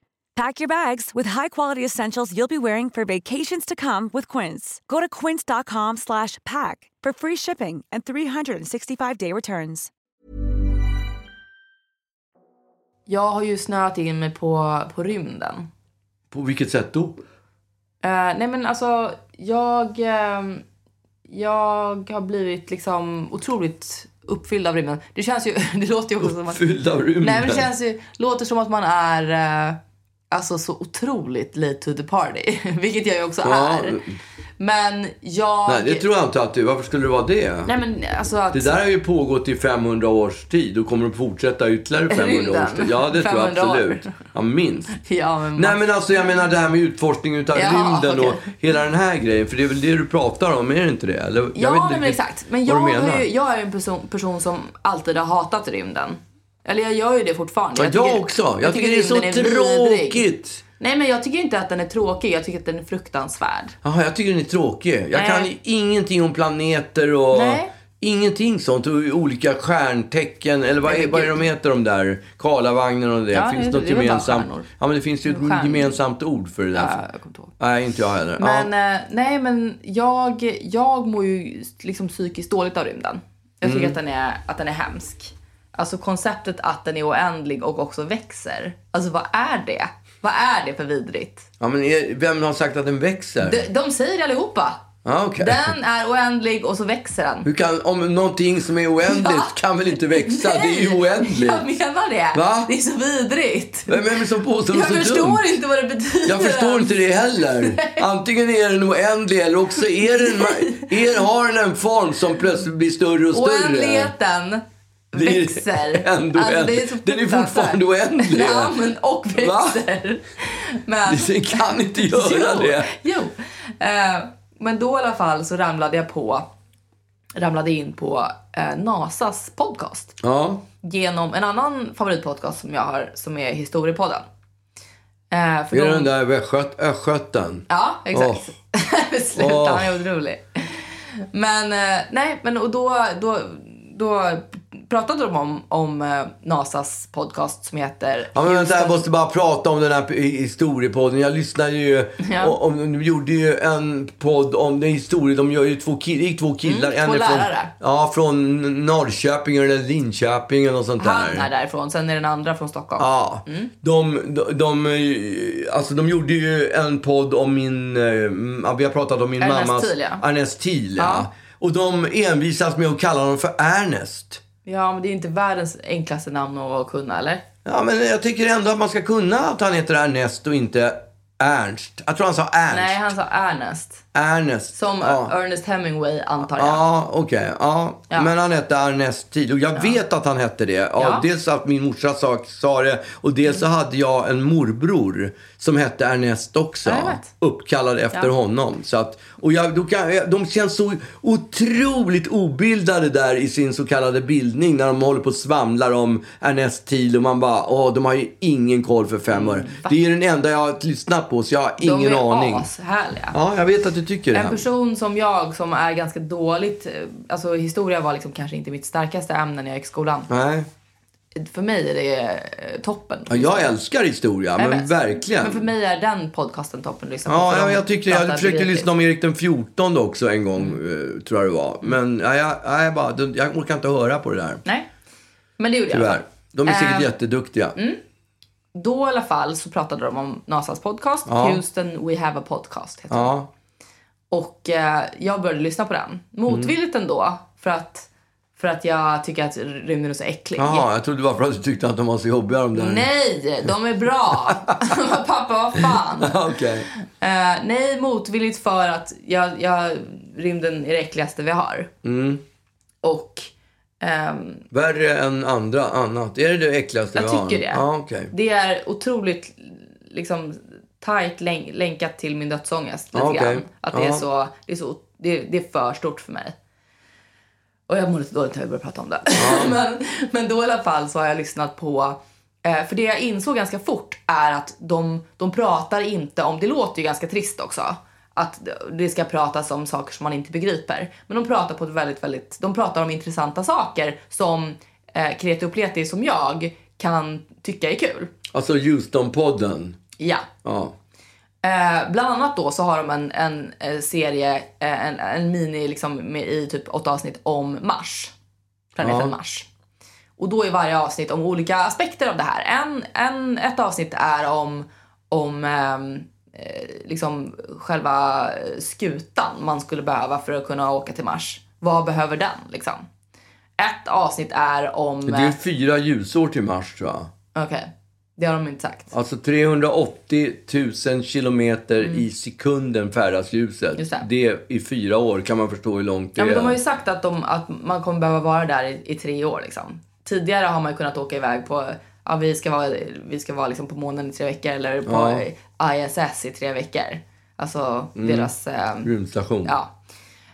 F: Pack your bags with high-quality essentials you'll be wearing for vacations to come with Quince. Go to quince.com slash pack for free shipping and 365-day returns.
A: Jag har ju snöat in mig på, på rymden.
B: På vilket sätt då?
A: Eh, nej men alltså, jag, eh, jag har blivit liksom otroligt uppfylld av rymden. Det känns ju, det låter ju också som att...
B: Fylld av rymden.
A: Nej men det känns ju, låter som att man är eh, alltså så otroligt late to the party. Vilket jag ju också
B: Ja.
A: är. Men jag...
B: Nej, det tror jag inte att du... Varför skulle det vara det?
A: Nej men alltså att...
B: Det där har ju pågått i 500 års tid och kommer att fortsätta ytterligare 500
A: Rymden.
B: års tid. Ja, det tror jag
A: 500 år.
B: absolut. Ja, minst.
A: Ja men...
B: Nej men alltså jag menar det här med utforskning utav
A: Ja,
B: rymden och
A: okej.
B: hela den här grejen. För det är väl det du pratar om, är det inte det? Eller, jag
A: ja,
B: vet inte
A: nej, men
B: riktigt
A: exakt. Men jag,
B: vad du menar.
A: har ju, jag är ju en person, person som alltid har hatat rymden. Eller jag gör ju det
B: Ja,
A: fortfarande.
B: jag,
A: tycker-
B: också. Jag, tycker, det är så
A: rymden vidrig.
B: tråkigt.
A: Nej men jag tycker inte att den är tråkig, jag tycker att den är fruktansvärd.
B: Jaha, jag tycker den är tråkig. Jag
A: Nej.
B: kan ju ingenting om planeter och
A: Nej.
B: ingenting sånt. Och olika stjärntecken, eller vad,
A: Nej,
B: är,
A: men
B: vad är
A: gud.
B: de heter de där? Karlavagnen och det.
A: Ja,
B: finns
A: det-
B: det något
A: det är väl bara
B: gemensamt?
A: stjärnor.
B: Ja, men det finns ju ett
A: Stjärnor.
B: gemensamt ord för det där.
A: Ja, jag kommer inte ihåg.
B: Nej, inte jag heller.
A: Men,
B: ja.
A: eh, nej men jag, jag mår ju liksom psykiskt dåligt av rymden. Jag tycker
B: Mm.
A: att, den är, att den är hemsk. Alltså konceptet att den är oändlig och också växer. Alltså vad är det? Vad är det för vidrigt?
B: ja, men är, vem har sagt att den växer?
A: De, de säger det allihopa.
B: Ja, okej.
A: Den är oändlig och så växer den.
B: Hur kan, om någonting som är oändligt kan väl inte växa? Det är ju
A: Nej,
B: oändligt.
A: Jag menar det.
B: Va?
A: Det är så vidrigt.
B: Vem är det som påstår
A: Jag
B: något så
A: förstår
B: dumt?
A: inte vad det betyder.
B: Jag förstår inte det heller. Antingen är den oändlig eller också är den, är, har den en form som plötsligt blir större och större.
A: Oändligheten
B: Det är
A: växer. Alltså,
B: ändå
A: det
B: oändligt. Den är fortfarande oändlig.
A: Ja, men och
B: Va?
A: växer. Men,
B: Den kan inte göra det.
A: Jo. Eh, men då i alla fall så ramlade jag på ramlade in på eh, NASAs podcast
B: Ja,
A: genom en annan favoritpodcast som jag har som är Historiepodden. Eh,
B: är
A: för de-
B: det den där östgöt- östgöten?
A: Ja, exakt. Sluta,
B: Åh.
A: han är otrolig. Men eh, nej, men och då, då, då pratade de om, om eh, NASAs podcast som heter
B: Ja, men vänta, jag
A: Houston-
B: måste bara prata om den här p- historiepodden. Jag lyssnade ju.
A: Ja.
B: Och, om, de gjorde ju en podd om den historien. De gör ju två, ki- det gick två killar.
A: Mm, två
B: en är
A: lärare.
B: Från, ja, från Norrköping eller Linköping eller något sånt
A: Han
B: där.
A: är därifrån, sen är den andra från Stockholm.
B: Ja,
A: Mm.
B: de, de, de, eh, alltså de gjorde ju en podd om min, eh, ja, vi har pratat om min
A: Ernest
B: mammas,
A: Thiel, ja.
B: Ernest Thiel, ja.
A: Ja.
B: Och de envisas med att kalla honom för Ernest.
A: Ja, men det är inte världens enklaste namn att kunna, eller?
B: Ja, men jag tycker ändå att man ska kunna att han heter Ernest och inte Ernst. Jag tror han sa Ernst.
A: Nej, han sa Ernest.
B: Ernest.
A: Som
B: ja.
A: Ernest Hemingway, antar jag.
B: Ja, okej. Ja.
A: Ja.
B: Men han hette Ernest Thiel. Och jag vet att han hette det. Ja,
A: Ja. Mm.
B: Dels att min morsa sa, sa det och dels så hade jag en morbror som hette Ernest också.
A: Ja, jag vet.
B: uppkallad efter
A: Ja.
B: honom. Så att, och jag, då kan, jag- de känns så otroligt obildade där i sin så kallade bildning när de håller på och svamlar om Ernest Thiel och man bara, åh, de har ju ingen koll för fem öre. Det är ju den enda jag har lyssnat på så jag har ingen
A: Mm, de är
B: aning.
A: ashärliga.
B: Ja, jag vet att du tycker
A: En
B: det.
A: person som jag som är ganska dåligt, eh, alltså historia var liksom kanske inte mitt starkaste ämne när jag gick i skolan.
B: Nej.
A: För mig är det eh, toppen.
B: Ja, jag älskar historia,
A: Jag
B: men
A: vet.
B: verkligen.
A: Men för mig är den podcasten toppen att lyssna på.
B: Ja,
A: för
B: jag,
A: de
B: jag tyckte jag
A: pratar
B: försökte
A: begripligt.
B: lyssna om Erik den 14 också en gång,
A: Mm.
B: eh, tror jag det var. Men ja, jag, ja, jag, bara, den- jag orkar inte höra på det där,
A: Nej, men det gjorde jag. i alla
B: tyvärr.
A: fall.
B: De är säkert
A: Eh,
B: jätteduktiga.
A: Då i alla fall så pratade de om NASAs podcast. Houston We Have A Podcast heter den.
B: Ja.
A: Och eh, jag började lyssna på den. Motvilligt
B: Mm.
A: ändå. För att, för att jag tycker att rymden är så äcklig.
B: Jaha, jag trodde det var för att du tyckte att de var så jobbiga de där.
A: Nej, de är bra. Pappa, vad fan.
B: Okej.
A: Eh, nej, motvilligt för att jag, jag, rymden är det äckligaste vi har. Och ehm,
B: Värre än andra, annat. Är det det äckligaste
A: Jag
B: vi har?
A: tycker det.
B: Ja, okej.
A: det är otroligt liksom tajt län- länkat till min dödsångest. Lite
B: Ja, okej.
A: grann. Att det är
B: Ja.
A: så, det är, så det, det är för stort för mig. Och jag mår lite dåligt när vi börjar prata om det. men, men då i alla fall så har jag lyssnat på eh, för det jag insåg ganska fort är att de, de pratar inte om, det låter ju ganska trist också, att det ska pratas om saker som man inte begriper. Men de pratar på ett väldigt, väldigt, de pratar om intressanta saker som eh, kreti och pleti som jag kan tycka är kul.
B: Alltså Houston-podden.
A: Ja.
B: Ja.
A: Eh, bland annat då så har de en, en eh, serie, eh, en, en mini liksom med, i typ åtta avsnitt om Mars. Planeten
B: Ja.
A: Mars. Och då är varje avsnitt om olika aspekter av det här. En, en, ett avsnitt är om, om ehm, eh, liksom själva skutan man skulle behöva för att kunna åka till Mars. Vad behöver den liksom? Ett avsnitt är om...
B: Det är
A: eh,
B: fyra ljusår till Mars, tror jag.
A: Okej, det har de inte sagt.
B: Alltså 380 000 kilometer i sekunden färdas ljuset.
A: Mm. Just det.
B: i fyra år kan man förstå hur långt det
A: Ja, men de har
B: är.
A: ju sagt att, de, att man kommer behöva vara där i, i tre år. Liksom. Tidigare har man ju kunnat åka iväg på ja, vi ska vara, vi ska vara liksom på månen i tre veckor eller på ISS i tre veckor. Alltså
B: Mm.
A: deras... Eh,
B: Rymdstation.
A: ja.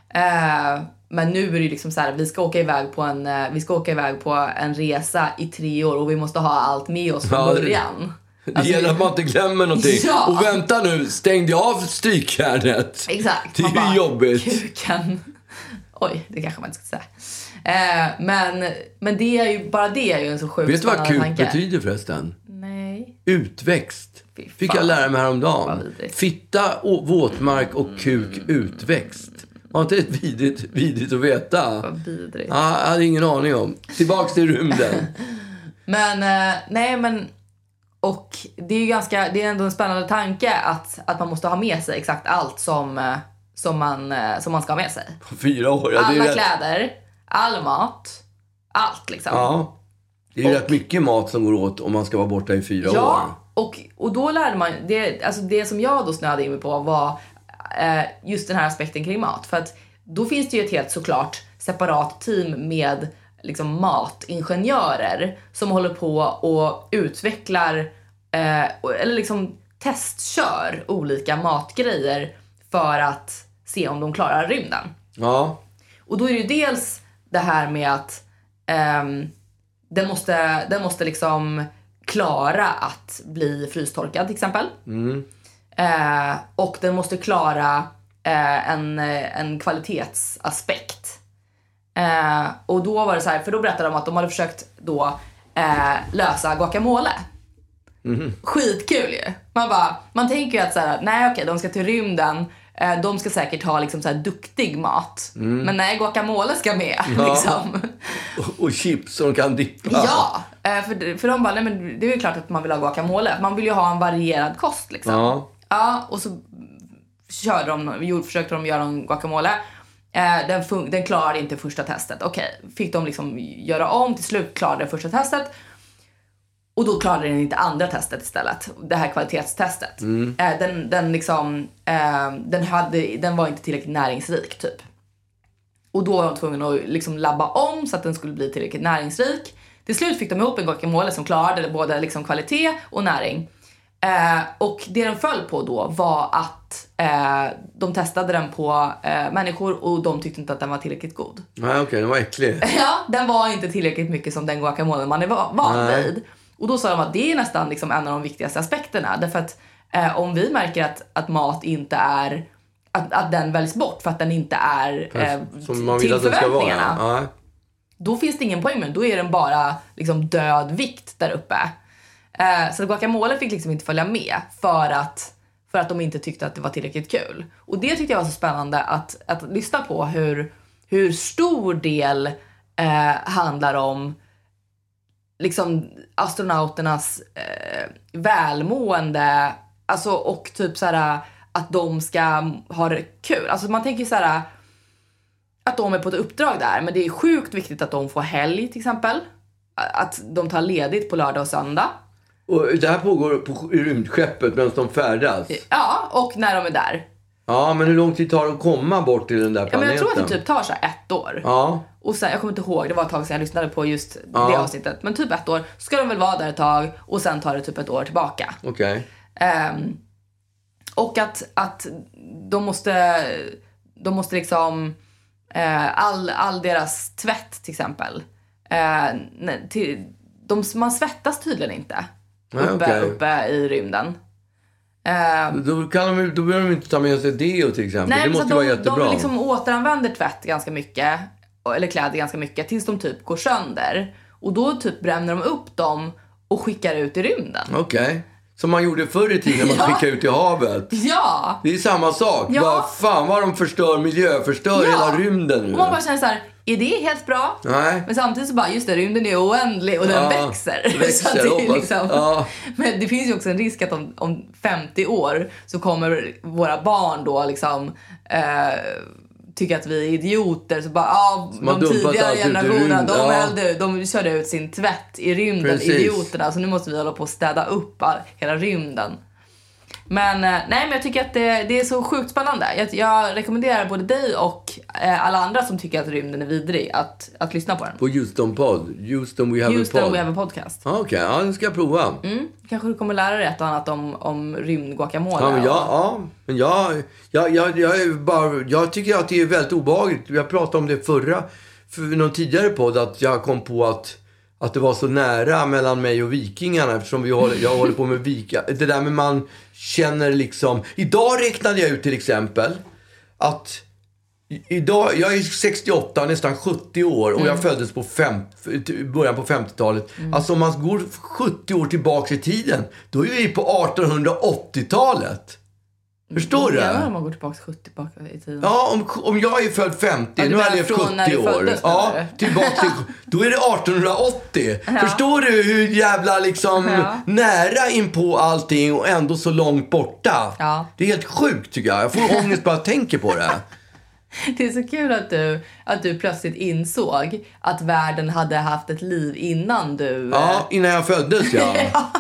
A: Eh, men nu är det ju liksom så här, vi ska, åka iväg på en, eh, vi ska åka iväg på en resa i tre år och vi måste ha allt med oss från
B: Ja, det-
A: början.
B: Det gäller att man inte glömmer någonting.
A: alltså- Ja.
B: Och vänta nu, stängde jag av strykjärnet?
A: Exakt.
B: Det är
A: Man
B: ju jobbigt.
A: Kuken. Oj, det kanske man inte ska säga. Eh, men, men det är ju, bara det är ju en så sjukt
B: Vet du vad
A: spännande
B: kuk
A: tanke.
B: betyder förresten?
A: Nej.
B: Utväxt.
A: Fy
B: Fick
A: fan.
B: jag lära mig
A: Vad
B: häromdagen.
A: vidrigt. Mm.
B: Fitta, å- våtmark och kuk utväxt. Var inte det vidrigt, vidrigt att veta?
A: Vad vidrigt.
B: Ja, jag hade ingen aning om. Tillbaks till rymden.
A: Men eh, nej men och det är ju ganska, det är ändå en spännande tanke att, att man måste ha med sig exakt allt som, eh, som, man, eh, som man ska ha med sig.
B: På fyra år. Ja, det är
A: Alla
B: rätt-
A: kläder, all mat, allt liksom.
B: Ja. Det är ju rätt mycket mat som går åt om man ska vara borta i fyra
A: Ja,
B: år.
A: och, och då lärde man det, alltså det som jag då snöade in mig på var eh, just den här aspekten kring mat. För att då finns det ju ett helt såklart separat team med liksom matingenjörer som håller på och utvecklar eh, och- eller liksom testkör olika matgrejer för att se om de klarar rymden.
B: Ja.
A: Och då är det ju dels det här med att ehm, den, måste, den måste liksom klara att bli frystorkad till exempel. Eh, och den måste klara eh, en, eh, en kvalitetsaspekt. Eh, och då var det så här, för då berättade de att de hade försökt då eh, lösa guacamole. Skitkul ju. Man, bara, man tänker ju att så här, nej okej, de ska till rymden. Eh, de ska säkert ha liksom så här duktig mat. Men nej, guacamole ska med. Liksom.
B: Och, och chips som kan dippa.
A: Ja, eh, för, för de bara, nej men det är ju klart att man vill ha guacamole. Man vill ju ha en varierad kost liksom.
B: Ja.
A: Ja, och så körde de, gjorde, försökte de göra en guacamole. Eh, den, fun- den klarade inte första testet. Okej, fick de liksom göra om. Till slut klarade den första testet. Och då klarade den inte andra testet istället. Det här kvalitetstestet. Eh, den, den, liksom, eh, den, hade, den var inte tillräckligt näringsrik typ. Och då var de tvungna att liksom labba om så att den skulle bli tillräckligt näringsrik. Till slut fick de ihop en guacamole som klarade både liksom kvalitet och näring. Eh, och det den föll på då var att eh, de testade den på eh, människor och de tyckte inte att den var tillräckligt god.
B: Nej, okej, den var äcklig.
A: Ja, den var inte tillräckligt mycket som den guacamole man är va- van
B: Nej.
A: vid. Och då sa de att det är nästan liksom en av de viktigaste aspekterna. Därför att eh, om vi märker att, att mat inte är, att, att den väljs bort för att den inte är eh,
B: Som man
A: till
B: vill att den ska vara.
A: förväntningarna.
B: Ja.
A: Då finns det ingen poäng med den. Då är den bara liksom död vikt där uppe. Eh, så guacamole fick liksom inte följa med för att, för att de inte tyckte att det var tillräckligt kul. Och det tyckte jag var så spännande att, att lyssna på hur, hur stor del eh, handlar om liksom astronauternas eh, välmående alltså, och typ så här att de ska ha det kul. Alltså man tänker ju så här att de är på ett uppdrag där, men det är sjukt viktigt att de får helg till exempel. Att de tar ledigt på lördag och söndag.
B: Och det här pågår på rymdskeppet medan de färdas.
A: Ja, och när de är där.
B: Ja, men hur lång tid tar det att komma bort till den där
A: Ja,
B: planeten?
A: men jag tror att det typ tar så här ett år.
B: Ja,
A: Och sen, jag kommer inte ihåg, det var ett tag sedan jag lyssnade på just det
B: Ja.
A: avsnittet. Men typ ett år ska de väl vara där ett tag och sen tar det typ ett år tillbaka.
B: okej.
A: Ehm, och att, att de måste, de måste liksom, eh, all, all deras tvätt till exempel. Eh, nej, till, de, man svettas tydligen inte
B: Nej,
A: uppe,
B: okej.
A: uppe i rymden. Ehm,
B: Då, kan de, då behöver de inte ta med sig deo till exempel.
A: Nej,
B: det
A: men
B: måste
A: så att
B: ju vara
A: de,
B: jättebra.
A: de liksom återanvänder tvätt ganska mycket, eller kläder ganska mycket, tills de typ går sönder. Och då typ bränner de upp dem och skickar ut i rymden.
B: Okej. Som man gjorde förr i tiden när man skickade ut i havet.
A: Ja!
B: Det är samma sak.
A: Ja.
B: Bara, fan vad de förstör miljö, förstör
A: Ja.
B: hela rymden nu.
A: Och man bara känner så här, är det helt bra?
B: Nej.
A: Men samtidigt så bara, just det, rymden är oändlig och den
B: Ja,
A: växer.
B: växer,
A: så att det är
B: hoppas.
A: liksom,
B: Ja.
A: Men det finns ju också en risk att om, om 50 år så kommer våra barn då liksom eh, tycka att vi är idioter. Så bara, ja,
B: har
A: de
B: dumpat
A: tidigare
B: allt ut i
A: generationerna, de,
B: rymden, ja.
A: hällde, de körde ut sin tvätt i rymden,
B: Precis.
A: idioterna. Så nu måste vi hålla på och städa upp all, hela rymden. Men eh, nej, men jag tycker att det, det är så sjukt spännande. Jag, jag rekommenderar både dig och eh, alla andra som tycker att rymden är vidrig att, att lyssna på den.
B: På Houston Pod. Houston We Have A
A: Houston
B: Pod.
A: We Have Mm. A Podcast.
B: Ja, Okej, ja, den ska jag prova.
A: Kanske du kommer lära dig ett och annat om, om rymdguacamole.
B: Ja, men jag,
A: och-
B: ja, men jag, jag, jag, jag, är bara, jag tycker att det är väldigt obehagligt. Jag pratade om det förra, för någon tidigare podd, att jag kom på att, att det var så nära mellan mig och vikingarna eftersom vi håller, jag håller på med vika. Det där med man känner liksom. Idag räknade jag ut till exempel att i- Idag, jag är 68, nästan 70 år och
A: Mm.
B: jag föddes på fem, i början på 50-talet. Alltså om man går 70 år tillbaka i tiden, då är vi på 1880-talet. Förstår du?
A: Jävlar om man går tillbaka 70 tillbaka i tiden.
B: Ja, om, om jag är född 50,
A: du
B: nu har jag levt
A: menar
B: 70
A: från när du
B: år.
A: föddes,
B: ja,
A: menar du?
B: tillbaka till, då är det 1880. Förstår du hur jävla liksom
A: Ja.
B: nära in på allting och ändå så långt borta?
A: Ja.
B: Det är helt sjukt tycker jag. Jag får ångest bara jag tänker på det.
A: Det är så kul att du, att du plötsligt insåg att världen hade haft ett liv innan du... eh,
B: Ja, innan jag föddes ja.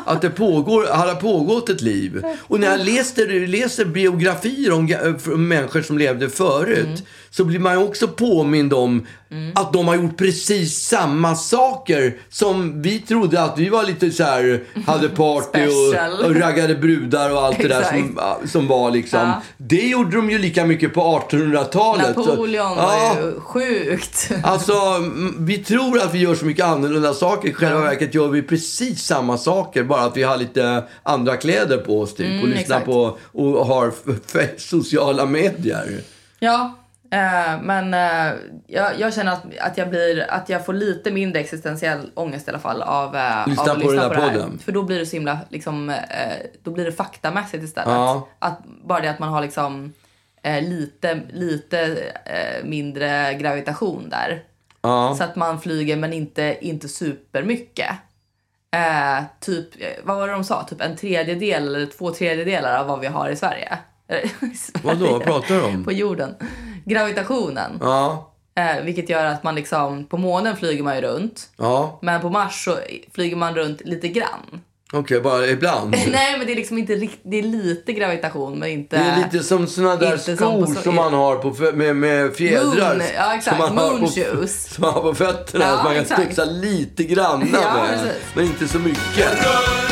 B: Att det pågår, hade pågått ett liv. Och när jag läser, läser biografier om, ga- om människor som levde förut
A: Mm.
B: så blir man ju också påmind om att de har gjort precis samma saker som vi trodde att vi var lite så här, hade party
A: Special.
B: och, och raggade brudar och allt det där som, som var liksom.
A: Ja.
B: Det gjorde de ju lika mycket på 1800-talet. Så-
A: Napoleon
B: Ja.
A: var ju sjukt.
B: Alltså, m- vi tror att vi gör så mycket annorlunda saker. I själva verket gör vi precis samma saker, bara att vi har lite andra kläder på oss typ, och lyssnar
A: exakt.
B: på och har f- f- sociala medier.
A: Ja, Eh, men eh, jag, jag känner att, att, jag blir, att jag får lite mindre existentiell ångest i alla fall av, eh,
B: Lyssna
A: av att
B: på
A: lyssna
B: den
A: på
B: här
A: det här.
B: podden.
A: För då blir det så himla, liksom, eh, då blir det faktamässigt istället.
B: Ja.
A: Att, bara det att man har liksom eh, lite, lite eh, mindre gravitation där.
B: Ja.
A: Så att man flyger men inte, inte supermycket. Eh, typ, eh, vad var det de sa? Typ en tredjedel eller två tredjedelar av vad vi har i Sverige. I Sverige.
B: Vadå, vad pratar du om?
A: På jorden. Gravitationen.
B: Ja.
A: Eh, vilket gör att man liksom, på månen flyger man ju runt.
B: Ja.
A: Men på Mars så flyger man runt lite grann.
B: Okej, bara ibland.
A: Nej men det är liksom inte rikt- det är lite gravitation men inte...
B: Det är lite som såna där
A: Inte som
B: skor
A: på så-
B: som man har på, fö- med, med fjädrar.
A: Moon, ja,
B: Som
A: exakt.
B: man har på,
A: Moonshoes.
B: som man har på fötterna.
A: Ja,
B: som man kan
A: exakt.
B: studsa lite grann
A: Ja,
B: med.
A: precis.
B: Men inte så mycket.